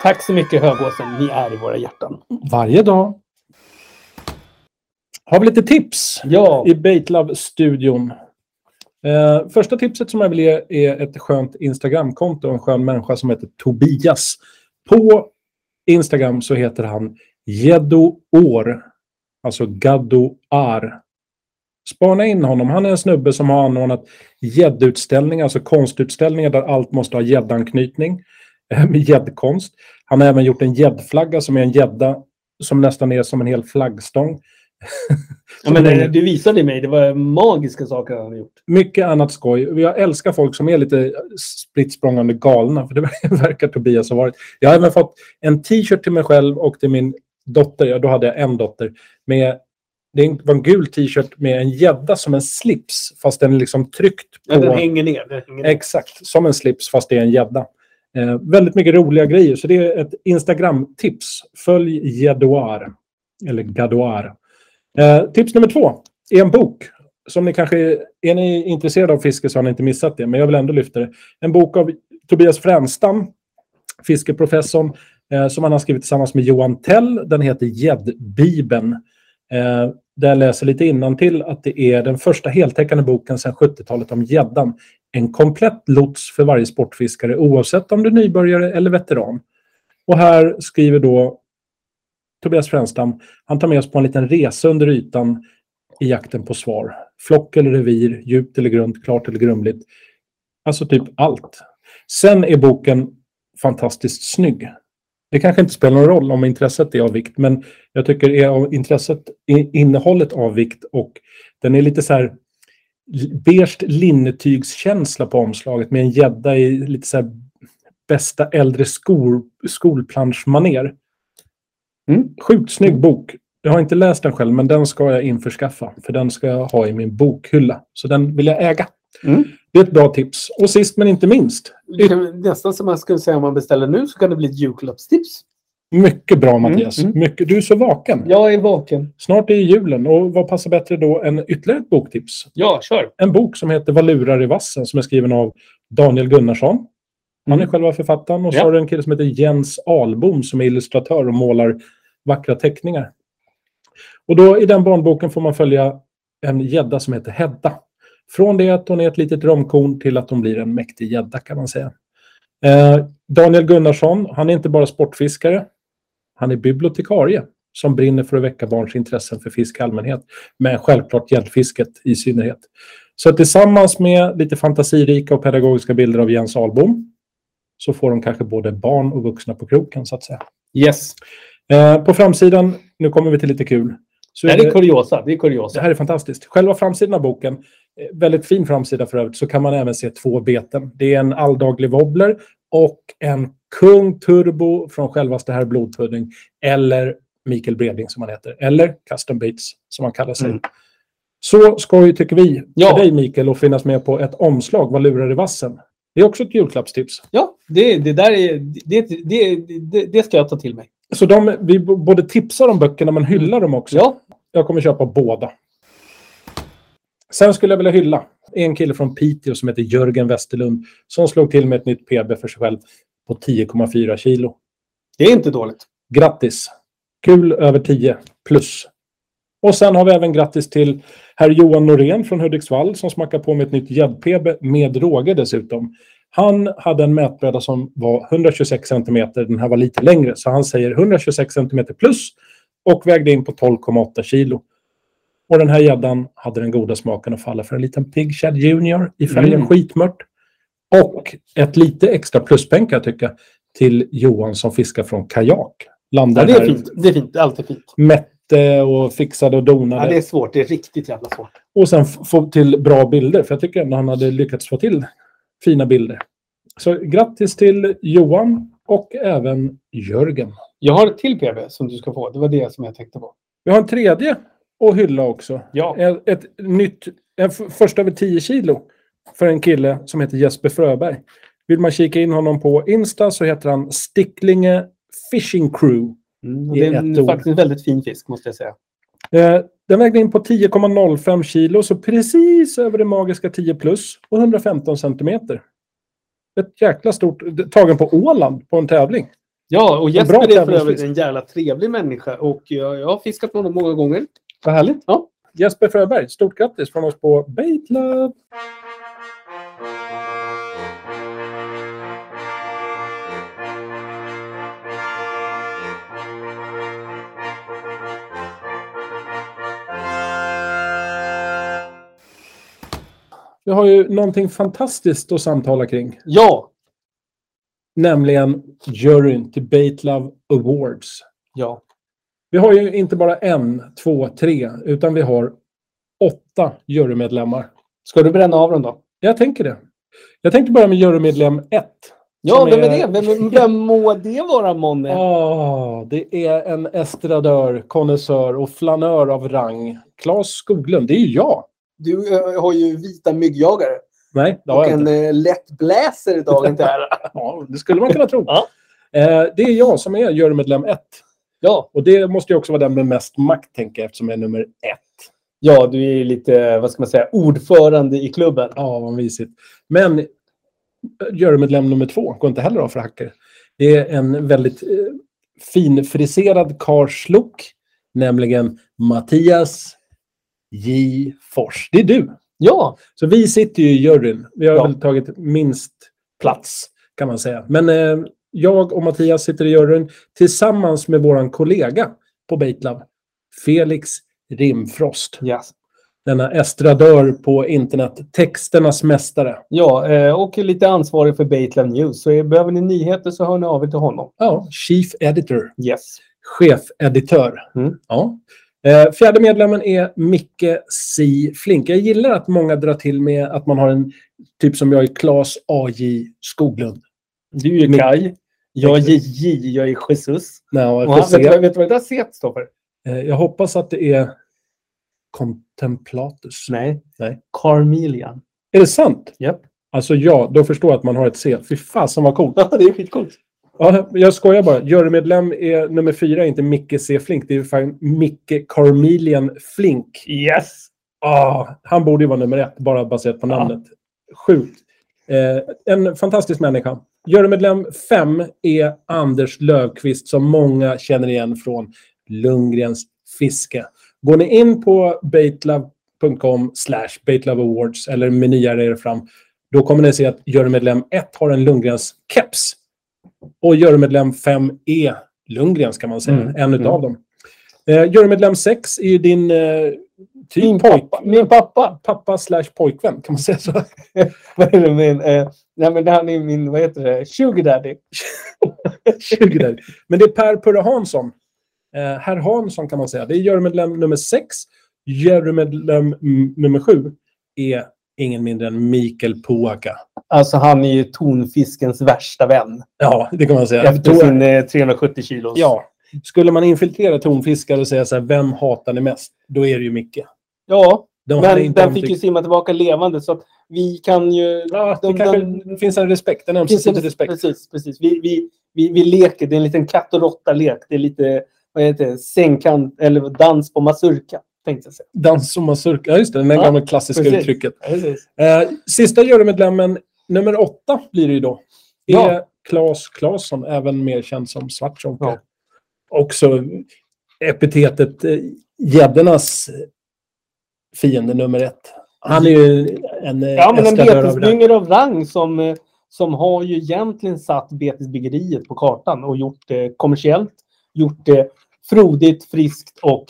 S2: Tack så mycket Högåsen, ni är i våra hjärtan.
S3: Varje dag. Har vi lite tips
S2: Ja,
S3: i Baitlove-studion? Eh, första tipset som jag vill ge är ett skönt Instagramkonto och en skön människa som heter Tobias. På Instagram så heter han Gjeddoår, alltså Gaddoar. Spana in honom. Han är en snubbe som har anordnat gäddutställningar, alltså konstutställningar där allt måste ha gäddanknytning eh, med gäddkonst. Han har även gjort en gäddflagga som är en gädda som nästan är som en hel flaggstång.
S2: ja men, eh, du visade mig, det var magiska saker han har gjort.
S3: Mycket annat skoj. Jag älskar folk som är lite spritt språngande galna, för det verkar Tobias ha varit. Jag har även fått en t-shirt till mig själv och till min dotter, ja, då hade jag en dotter, med det är en- var en gul t-shirt med en gädda som en slips, fast den är liksom tryckt på...
S2: Ja, den hänger ner. Den hänger ner.
S3: Exakt, som en slips fast det är en gädda. Eh, väldigt mycket roliga grejer, så det är ett Instagram-tips. Följ Gäddoar, eller Gadoar. Eh, tips nummer två är en bok. Som ni kanske, är ni intresserade av fiske så har ni inte missat det, men jag vill ändå lyfta det. En bok av Tobias Fränstam, fiskeprofessorn, eh, som han har skrivit tillsammans med Johan Tell. Den heter Gäddbibeln. Eh, där jag läser lite innantill att det är den första heltäckande boken sedan 70-talet om gäddan. En komplett lots för varje sportfiskare oavsett om du är nybörjare eller veteran. Och här skriver då Tobias Fränstam, han tar med oss på en liten resa under ytan i jakten på svar. Flock eller revir, djupt eller grunt, klart eller grumligt. Alltså typ allt. Sen är boken fantastiskt snygg. Det kanske inte spelar någon roll om intresset är av vikt, men jag tycker är av intresset, i- innehållet av vikt och den är lite så här beige linnetygskänsla på omslaget med en gädda i lite så här bästa äldre skol, skolplanschmaner.
S2: Mm.
S3: Sjukt snygg bok. Jag har inte läst den själv, men den ska jag införskaffa. För den ska jag ha i min bokhylla. Så den vill jag äga.
S2: Mm.
S3: Det är ett bra tips. Och sist men inte minst.
S2: Det kan- Nästan som man skulle säga om man beställer nu så kan det bli ett julklappstips.
S3: Mycket bra Mattias.
S2: Mm,
S3: Mycket, du är så vaken.
S2: Jag är vaken.
S3: Snart är ju julen och vad passar bättre då än ytterligare ett boktips?
S2: Ja, kör.
S3: en bok som heter Valurar i vassen som är skriven av Daniel Gunnarsson. Han är
S2: Mm.
S3: själva författaren. Och så
S2: Ja.
S3: har du en kille som heter Jens Ahlbom som är illustratör och målar vackra teckningar. Och då i den barnboken får man följa en gädda som heter Hedda. Från det att hon är ett litet romkorn till att hon blir en mäktig gädda kan man säga. Eh, Daniel Gunnarsson, han är inte bara sportfiskare. Han är bibliotekarie som brinner för att väcka barns intressen för fisk i allmänhet. Men självklart gäddfisket i synnerhet. Så tillsammans med lite fantasirika och pedagogiska bilder av Jens Ahlbom så får de kanske både barn och vuxna på kroken så att säga.
S2: Yes.
S3: Eh, på framsidan, nu kommer vi till lite kul. Så
S2: Det
S3: är
S2: här är
S3: det,
S2: kuriosa. Det är
S3: det
S2: kuriosa.
S3: här är fantastiskt. Själva framsidan av boken, eh, väldigt fin framsida för övrigt, så kan man även se två beten. Det är en alldaglig wobbler och en kung turbo från självaste herr Blodpudding. Eller Mikael Breding som han heter. Eller Custom Baits som han kallar sig.
S2: Mm.
S3: Så skoj tycker vi
S2: Ja.
S3: för dig Mikael att finnas med på ett omslag, Vad lurar i vassen? Det är också ett julklappstips.
S2: Ja, det, det där är... Det, det, det, det ska jag ta till mig.
S3: Så de, vi b- både tipsar om böckerna men hyllar dem också.
S2: Ja.
S3: Jag kommer köpa båda. Sen skulle jag vilja hylla en kille från Piteå som heter Jörgen Westerlund som slog till med ett nytt PB för sig själv på 10,4 kilo.
S2: Det är inte dåligt.
S3: Grattis! Kul över 10 plus. Och sen har vi även grattis till herr Johan Norén från Hudiksvall som smackar på med ett nytt gädd-PB med råge dessutom. Han hade en mätbräda som var 126 cm. Den här var lite längre, så han säger 126 cm plus och vägde in på 12,8 kilo. Och den här gäddan hade den goda smaken att falla för en liten Pig Chad Junior i färgen
S2: Mm.
S3: skitmört. Och ett lite extra pluspeng kan jag tycka till Johan som fiskar från kajak.
S2: Ja,
S3: Landade
S2: det är
S3: här,
S2: fint. Det är fint. Alltid fint.
S3: mätte och fixade och donade.
S2: Ja, det är svårt. Det är riktigt jävla svårt.
S3: Och sen f- få till bra bilder, för jag tycker ändå han hade lyckats få till fina bilder. Så grattis till Johan och även Jörgen.
S2: Jag har ett till PB som du ska få. Det var det som jag tänkte på.
S3: Vi har en tredje att hylla också.
S2: Ja.
S3: Ett, ett nytt, en f- första över 10 kilo för en kille som heter Jesper Fröberg. Vill man kika in honom på Insta så heter han Sticklinge Fishing Crew.
S2: Mm, och
S3: Det
S2: det
S3: är
S2: är en,
S3: ett ord.
S2: faktiskt en väldigt fin fisk måste jag säga.
S3: Eh, Den vägde in på 10,05 kilo, så precis över det magiska 10 plus och 115 centimeter. Ett jäkla stort, tagen på Åland på en tävling.
S2: Ja, och Jesper
S3: bra
S2: är för
S3: tävlingsfisk.
S2: övrigt en jävla trevlig människa och jag, jag har fiskat med honom många gånger.
S3: Vad härligt.
S2: Ja.
S3: Jesper Fröberg, stort grattis från oss på Baitlab. Vi har ju någonting fantastiskt att samtala kring.
S2: Ja,
S3: Nämligen juryn till Baitlove Awards.
S2: ja.
S3: Vi har ju inte bara en, två, tre, utan vi har åtta jurymedlemmar.
S2: Ska du bränna av den då?
S3: Jag tänker det. Jag tänkte börja med jurymedlem 1.
S2: Ja,
S3: Som
S2: vem
S3: är-
S2: är det? Vem, vem må det vara månne?
S3: Ah, det är en estradör, konnässör och flanör av rang. Claes Skoglund, det är ju jag.
S2: Du eh, har ju vita myggjagare
S3: Nej, det har
S2: och
S3: jag
S2: en
S3: inte.
S2: eh, lätt bläser i dagen till ära.
S3: Ja, det skulle man kunna tro.
S2: Ja.
S3: Eh, det är jag som är jurymedlem 1.
S2: Ja.
S3: Och det måste ju också vara den med mest makt, tänker jag, eftersom jag är nummer ett.
S2: ja, du är ju lite, vad ska man säga, ordförande i klubben.
S3: Ja, vad mysigt. Men jurymedlem nummer två går inte heller av för hacker. Det är en väldigt eh, finfriserad karlslok, nämligen Mattias J. Fors. Det är du.
S2: Ja,
S3: Så vi sitter ju i juryn. Vi har
S2: Ja.
S3: väl tagit minst plats, kan man säga. Men eh, jag och Mattias sitter i juryn tillsammans med vår kollega på Baitlab, Felix Rimfrost
S2: yes.
S3: denna estradör på internet, texternas mästare.
S2: ja eh, och är lite ansvarig för Baitlab News. Så eh, behöver ni nyheter så hör ni av er till honom.
S3: Ja, chief editor,
S2: Yes.
S3: chefeditör.
S2: Mm.
S3: Ja. Eh, Fjärde medlemmen är Micke C. Flink. Jag gillar att många drar till med att man har en typ som jag är Claes A.J. Skoglund.
S2: Du är ju
S3: Mitt-
S2: Kaj. Jag är J, jag är Jesus.
S3: Nej, jag,
S2: Och
S3: får
S2: han, vet, du
S3: se.
S2: vad- vet du vad det där set står för?
S3: Eh, jag hoppas att det är Contemplatus.
S2: Nej.
S3: Nej.
S2: Carmelian.
S3: Är det sant?
S2: Japp.
S3: Alltså ja, då förstår jag att man har ett C. Fy fasen vad coolt.
S2: Ja, det är skitcoolt.
S3: Ja, jag skojar bara. Jurymedlem är nummer fyra, inte Micke C. Flink. Det är ju fan Micke Carmelian Flink.
S2: Yes!
S3: Ah, han borde ju vara nummer ett, bara baserat på namnet. Sjukt. Eh, en fantastisk människa. Jurymedlem fem är Anders Löfqvist som många känner igen från Lundgrens fiske. Går ni in på baitlove.com slash baitloveawards eller menyar er fram, då kommer ni se att jurymedlem 1 har en Lundgrens keps. Och jurymedlem 5 är Lundgrens kan man säga,
S2: Mm.
S3: en utav
S2: Mm.
S3: dem. Eh, jurymedlem 6 är ju din eh, typ
S2: Min
S3: pojk,
S2: pappa. Min pappa.
S3: pappa slash pojkvän, kan man säga så?
S2: Vad är det min, eh, nej, men han är min, vad heter det, sugar daddy.
S3: 20 där. Men det är Per Purre Hansson. Eh, herr Hansson kan man säga. Det är jurymedlem nummer 6. Jurymedlem mm, nummer 7 är ingen mindre än Mikael Puaka.
S2: Alltså han är ju tonfiskens värsta vän.
S3: Ja, det kan man säga.
S2: Efter
S3: Då-
S2: sin eh, 370 kilos.
S3: ja. Skulle man infiltrera tonfiskare och säga så här, vem hatar ni mest? Då är det ju Micke.
S2: ja
S3: De hade
S2: men
S3: inte
S2: den fick ju
S3: omtyckt-
S2: simma tillbaka levande så att vi kan ju...
S3: Ja, det
S2: de-
S3: kanske
S2: de-
S3: finns en respekt, en ömsesidig respekt.
S2: Precis, precis. Vi, vi, vi, vi leker, det är en liten katt och råtta-lek. Det är lite, vad heter det, sängkant eller dans på mazurka. Tänkte jag säga.
S3: Dans och mazurka, ja just det, det
S2: Ja,
S3: gamla klassiska
S2: precis.
S3: uttrycket.
S2: Precis.
S3: Eh, sista jurymedlemmen, nummer åtta blir det ju då, är
S2: Ja.
S3: Claes Claesson, även mer känd som Svartzonka.
S2: Ja.
S3: Också epitetet eh, gäddornas fiende nummer ett. Han är ju en eh,
S2: Ja, men en
S3: eskadör av rang.
S2: betesdynger av rang som, eh, som har ju egentligen satt betesbyggeriet på kartan och gjort det kommersiellt, gjort det frodigt, friskt och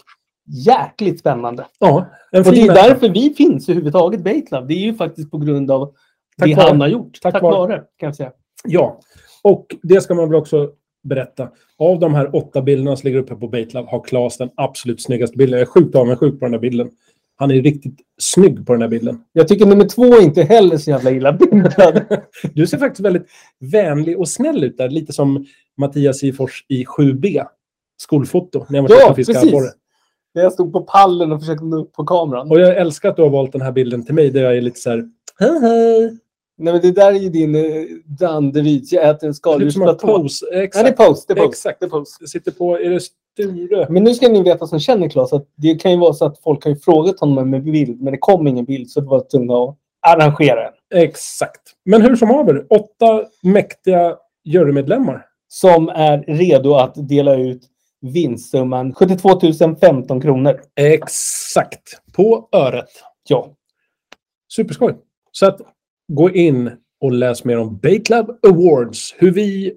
S2: jäkligt spännande.
S3: Ja, en
S2: Och det
S3: fin
S2: är
S3: människa.
S2: därför vi finns överhuvudtaget, Baitlab. Det är ju faktiskt på grund av
S3: Tack
S2: det
S3: vare.
S2: han har gjort.
S3: Tack
S2: Tack,
S3: vare.
S2: vare, kan jag säga.
S3: Ja, och det ska man väl också berätta. Av de här åtta bilderna som ligger uppe på Baitlab har Claes den absolut snyggaste bilden. Jag är sjukt avundsjuk på den här bilden. Han är riktigt snygg på den här bilden.
S2: Jag tycker nummer två är inte heller så jävla illa bildad.
S3: Du ser faktiskt väldigt vänlig och snäll ut där. Lite som Mattias Ifors i 7B. Skolfoto. När jag var
S2: ja,
S3: och fiskade
S2: precis.
S3: abborre.
S2: När jag stod på pallen och försökte nå upp på kameran.
S3: Och jag älskar att du har valt den här bilden till mig där jag är lite så här... Hej, hej.
S2: Nej, men det där är ju din eh, Danderyds. Jag äter en
S3: Det ser ut som en
S2: skaldjursplatå.
S3: pose.
S2: Ja,
S3: Exakt.
S2: det är post. Det är post.
S3: Exakt.
S2: Det är post.
S3: Sitter på... Är det Sture?
S2: Men nu ska ni veta som känner Claes att det kan ju vara så att folk har ju frågat honom om en bild, men det kom ingen bild så det var tvungna att arrangera en.
S3: Exakt. Men hur som haver. Åtta mäktiga jurymedlemmar.
S2: Som är redo att dela ut vinstsumman 72 015 kronor.
S3: Exakt. På öret.
S2: Ja.
S3: Superskoj. Så att gå in och läs mer om Baitlab Awards. Hur vi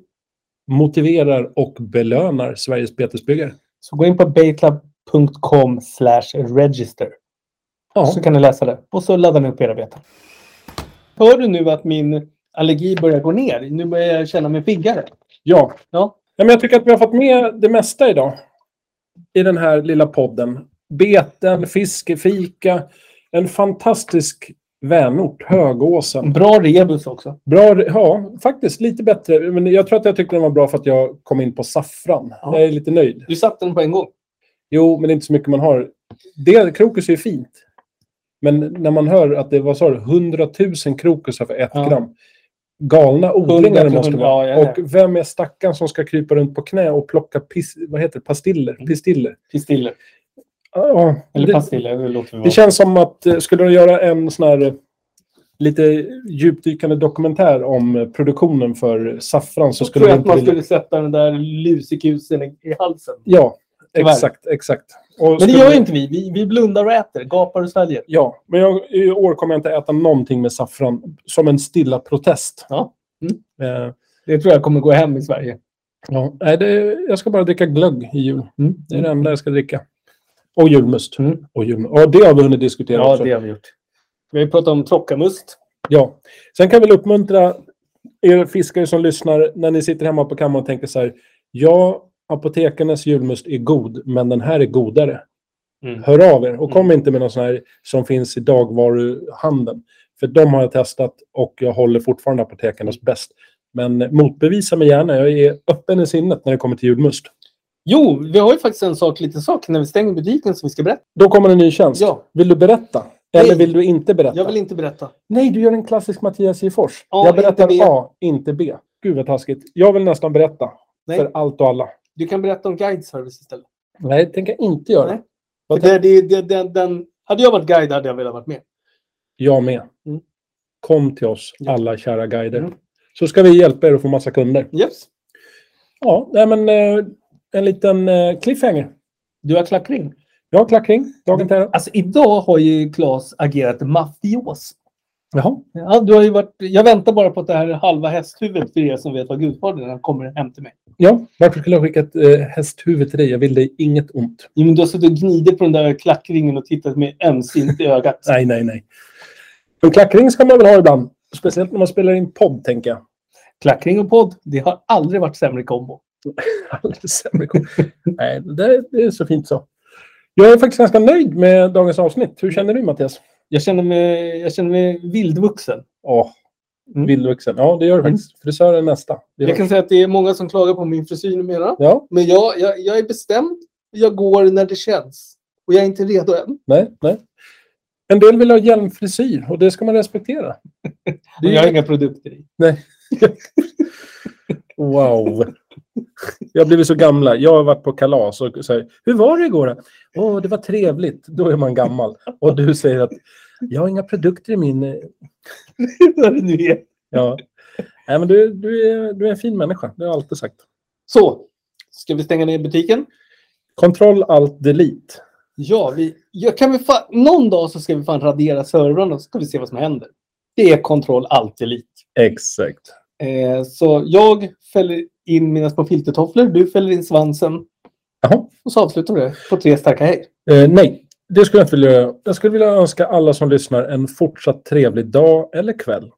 S3: motiverar och belönar Sveriges betesbyggare.
S2: Så gå in på baitlab.com register.
S3: Ja.
S2: Så kan ni läsa det. Och så laddar ni upp era beten. Hör du nu att min allergi börjar gå ner? Nu börjar jag känna mig piggare.
S3: Ja.
S2: Ja.
S3: ja men jag tycker att vi har fått med det mesta idag. I den här lilla podden. Beten, fiske, fika. En fantastisk vänort, Högåsen.
S2: Bra rebus också.
S3: Bra, ja, faktiskt lite bättre. Men jag tror att jag tyckte den var bra för att jag kom in på saffran.
S2: Ja.
S3: Jag är lite nöjd.
S2: Du satte den på en gång.
S3: Jo, men det är inte så mycket man har. Det, krokus är ju fint. Men när man hör att det var så 100 000 krokusar för ett
S2: Ja.
S3: gram. Galna odlingar det
S2: 100 000,
S3: måste det vara.
S2: ja, ja, ja.
S3: Och vem är stackaren som ska krypa runt på knä och plocka pis, vad heter det? pastiller? Pistiller.
S2: Pistiller.
S3: Ja,
S2: Mm. Eller
S3: det-
S2: pastiller, det låter
S3: det känns som att eh, skulle de göra en sån här eh, lite djupdykande dokumentär om eh, produktionen för saffran så
S2: Jag
S3: skulle
S2: tror
S3: de
S2: jag att
S3: inte
S2: man
S3: vilja...
S2: skulle sätta den där lusekusen i, i halsen.
S3: Ja,
S2: Tyvärr.
S3: exakt, exakt. Och
S2: Men det
S3: skulle-
S2: gör ju inte vi. vi. Vi blundar och äter, gapar och sväljer.
S3: Ja, men jag, i år kommer jag inte äta någonting med saffran som en stilla protest.
S2: Ja. Mm.
S3: Eh,
S2: Det tror jag kommer gå hem i Sverige.
S3: ja. Nej, det, jag ska bara dricka glögg i jul.
S2: Mm.
S3: Det är det enda jag ska dricka. Och julmust.
S2: Mm.
S3: Och julmust. Ja, det har vi hunnit diskutera
S2: Ja,
S3: också.
S2: det har vi gjort. Vi har ju pratat om trockamust.
S3: Ja. Sen kan jag väl uppmuntra er fiskare som lyssnar när ni sitter hemma på kammaren och tänker så här. Ja, apotekarnas julmust är god, men den här är godare.
S2: Mm.
S3: Hör av er och kom inte med någon sån här som finns i dagvaruhandeln. För de har jag testat och jag håller fortfarande apotekarnas bäst. Men motbevisa mig gärna. Jag är öppen i sinnet när det kommer till julmust.
S2: Jo, vi har ju faktiskt en sak, liten sak när vi stänger butiken som vi ska berätta.
S3: Då kommer en ny tjänst.
S2: Ja.
S3: Vill du berätta? Eller
S2: Nej.
S3: vill du inte berätta?
S2: Jag vill inte berätta.
S3: Nej, du gör en klassisk Mattias i Fors.
S2: A,
S3: jag berättar
S2: inte B.
S3: A, inte B. Gud vad taskigt. Jag vill nästan berätta.
S2: Nej.
S3: För allt och alla.
S2: Du kan berätta om guide service istället.
S3: Nej, det tänker jag inte göra.
S2: Nej.
S3: Vad
S2: För det, det, det, den, den, hade jag varit guide hade jag velat varit med.
S3: Jag med.
S2: Mm.
S3: Kom till oss,
S2: Ja.
S3: alla kära guider.
S2: Mm.
S3: Så ska vi hjälpa er att få massa kunder.
S2: Yes.
S3: Ja, nej men eh, en liten eh, cliffhanger.
S2: Du har klackring.
S3: Ja, klackring. Dagen till ära.
S2: Alltså idag har ju Claes agerat mafios.
S3: Jaha.
S2: Ja, du har ju varit, jag väntar bara på att det här halva hästhuvudet för er som vet vad gudfadern är, han kommer hem till mig.
S3: Ja, varför skulle jag skicka ett eh, hästhuvud till dig? Jag vill dig inget ont.
S2: Jo, men du har suttit och gnidit på den där klackringen och tittat med ömsint i ögat.
S3: Nej, nej, nej. En klackring ska man väl ha ibland. Speciellt när man spelar in podd, tänker jag.
S2: Klackring och podd, det har aldrig varit sämre kombo.
S3: Alldeles sämre kom- nej, det, det är så fint så. Jag är faktiskt ganska nöjd med dagens avsnitt. Hur känner du, Mattias?
S2: Jag känner mig, jag känner mig vildvuxen.
S3: Ja,
S2: Mm.
S3: vildvuxen. Ja, det gör du faktiskt. Frisör är nästa. Det
S2: Jag
S3: gör-
S2: kan säga att det är många som klagar på min frisyr numera.
S3: Ja,
S2: Men jag, jag, jag är bestämd. Jag går när det känns. Och jag är inte redo än.
S3: nej, nej. En del vill ha hjälmfrisyr och det ska man respektera.
S2: Och jag har inga produkter i.
S3: Wow. Jag har blivit så gamla. Jag har varit på kalas och säger hur var det igår? då?" Åh, det var trevligt. Då är man gammal. Och du säger att jag har inga produkter i min... eh."
S2: Vad det nu är.
S3: Ja. Nej, men du, du, är, du är en fin människa. Det har jag alltid sagt.
S2: Så. Ska vi stänga ner butiken?
S3: Control alt delete.
S2: Ja, vi, jag kan vi fa- någon dag så ska vi fan radera servrarna och så ska vi se vad som händer. Det är kontroll allt elit.
S3: Exakt.
S2: Eh, så jag fäller in mina små filtertofflor, du fäller in svansen
S3: Jaha.
S2: och så avslutar vi det på tre starka hej.
S3: Eh, nej, det skulle jag inte vilja göra. Jag skulle vilja önska alla som lyssnar en fortsatt trevlig dag eller kväll.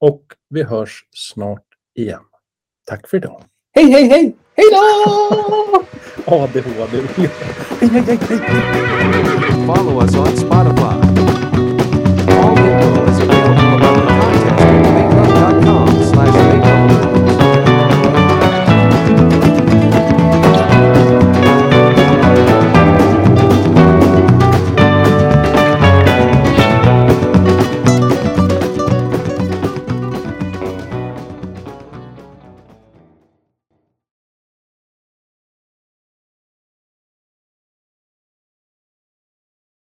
S3: Och vi hörs snart igen. Tack för idag.
S2: Hej, hej, hej! Hej då!
S3: ADHD.
S1: Follow us on Spotify.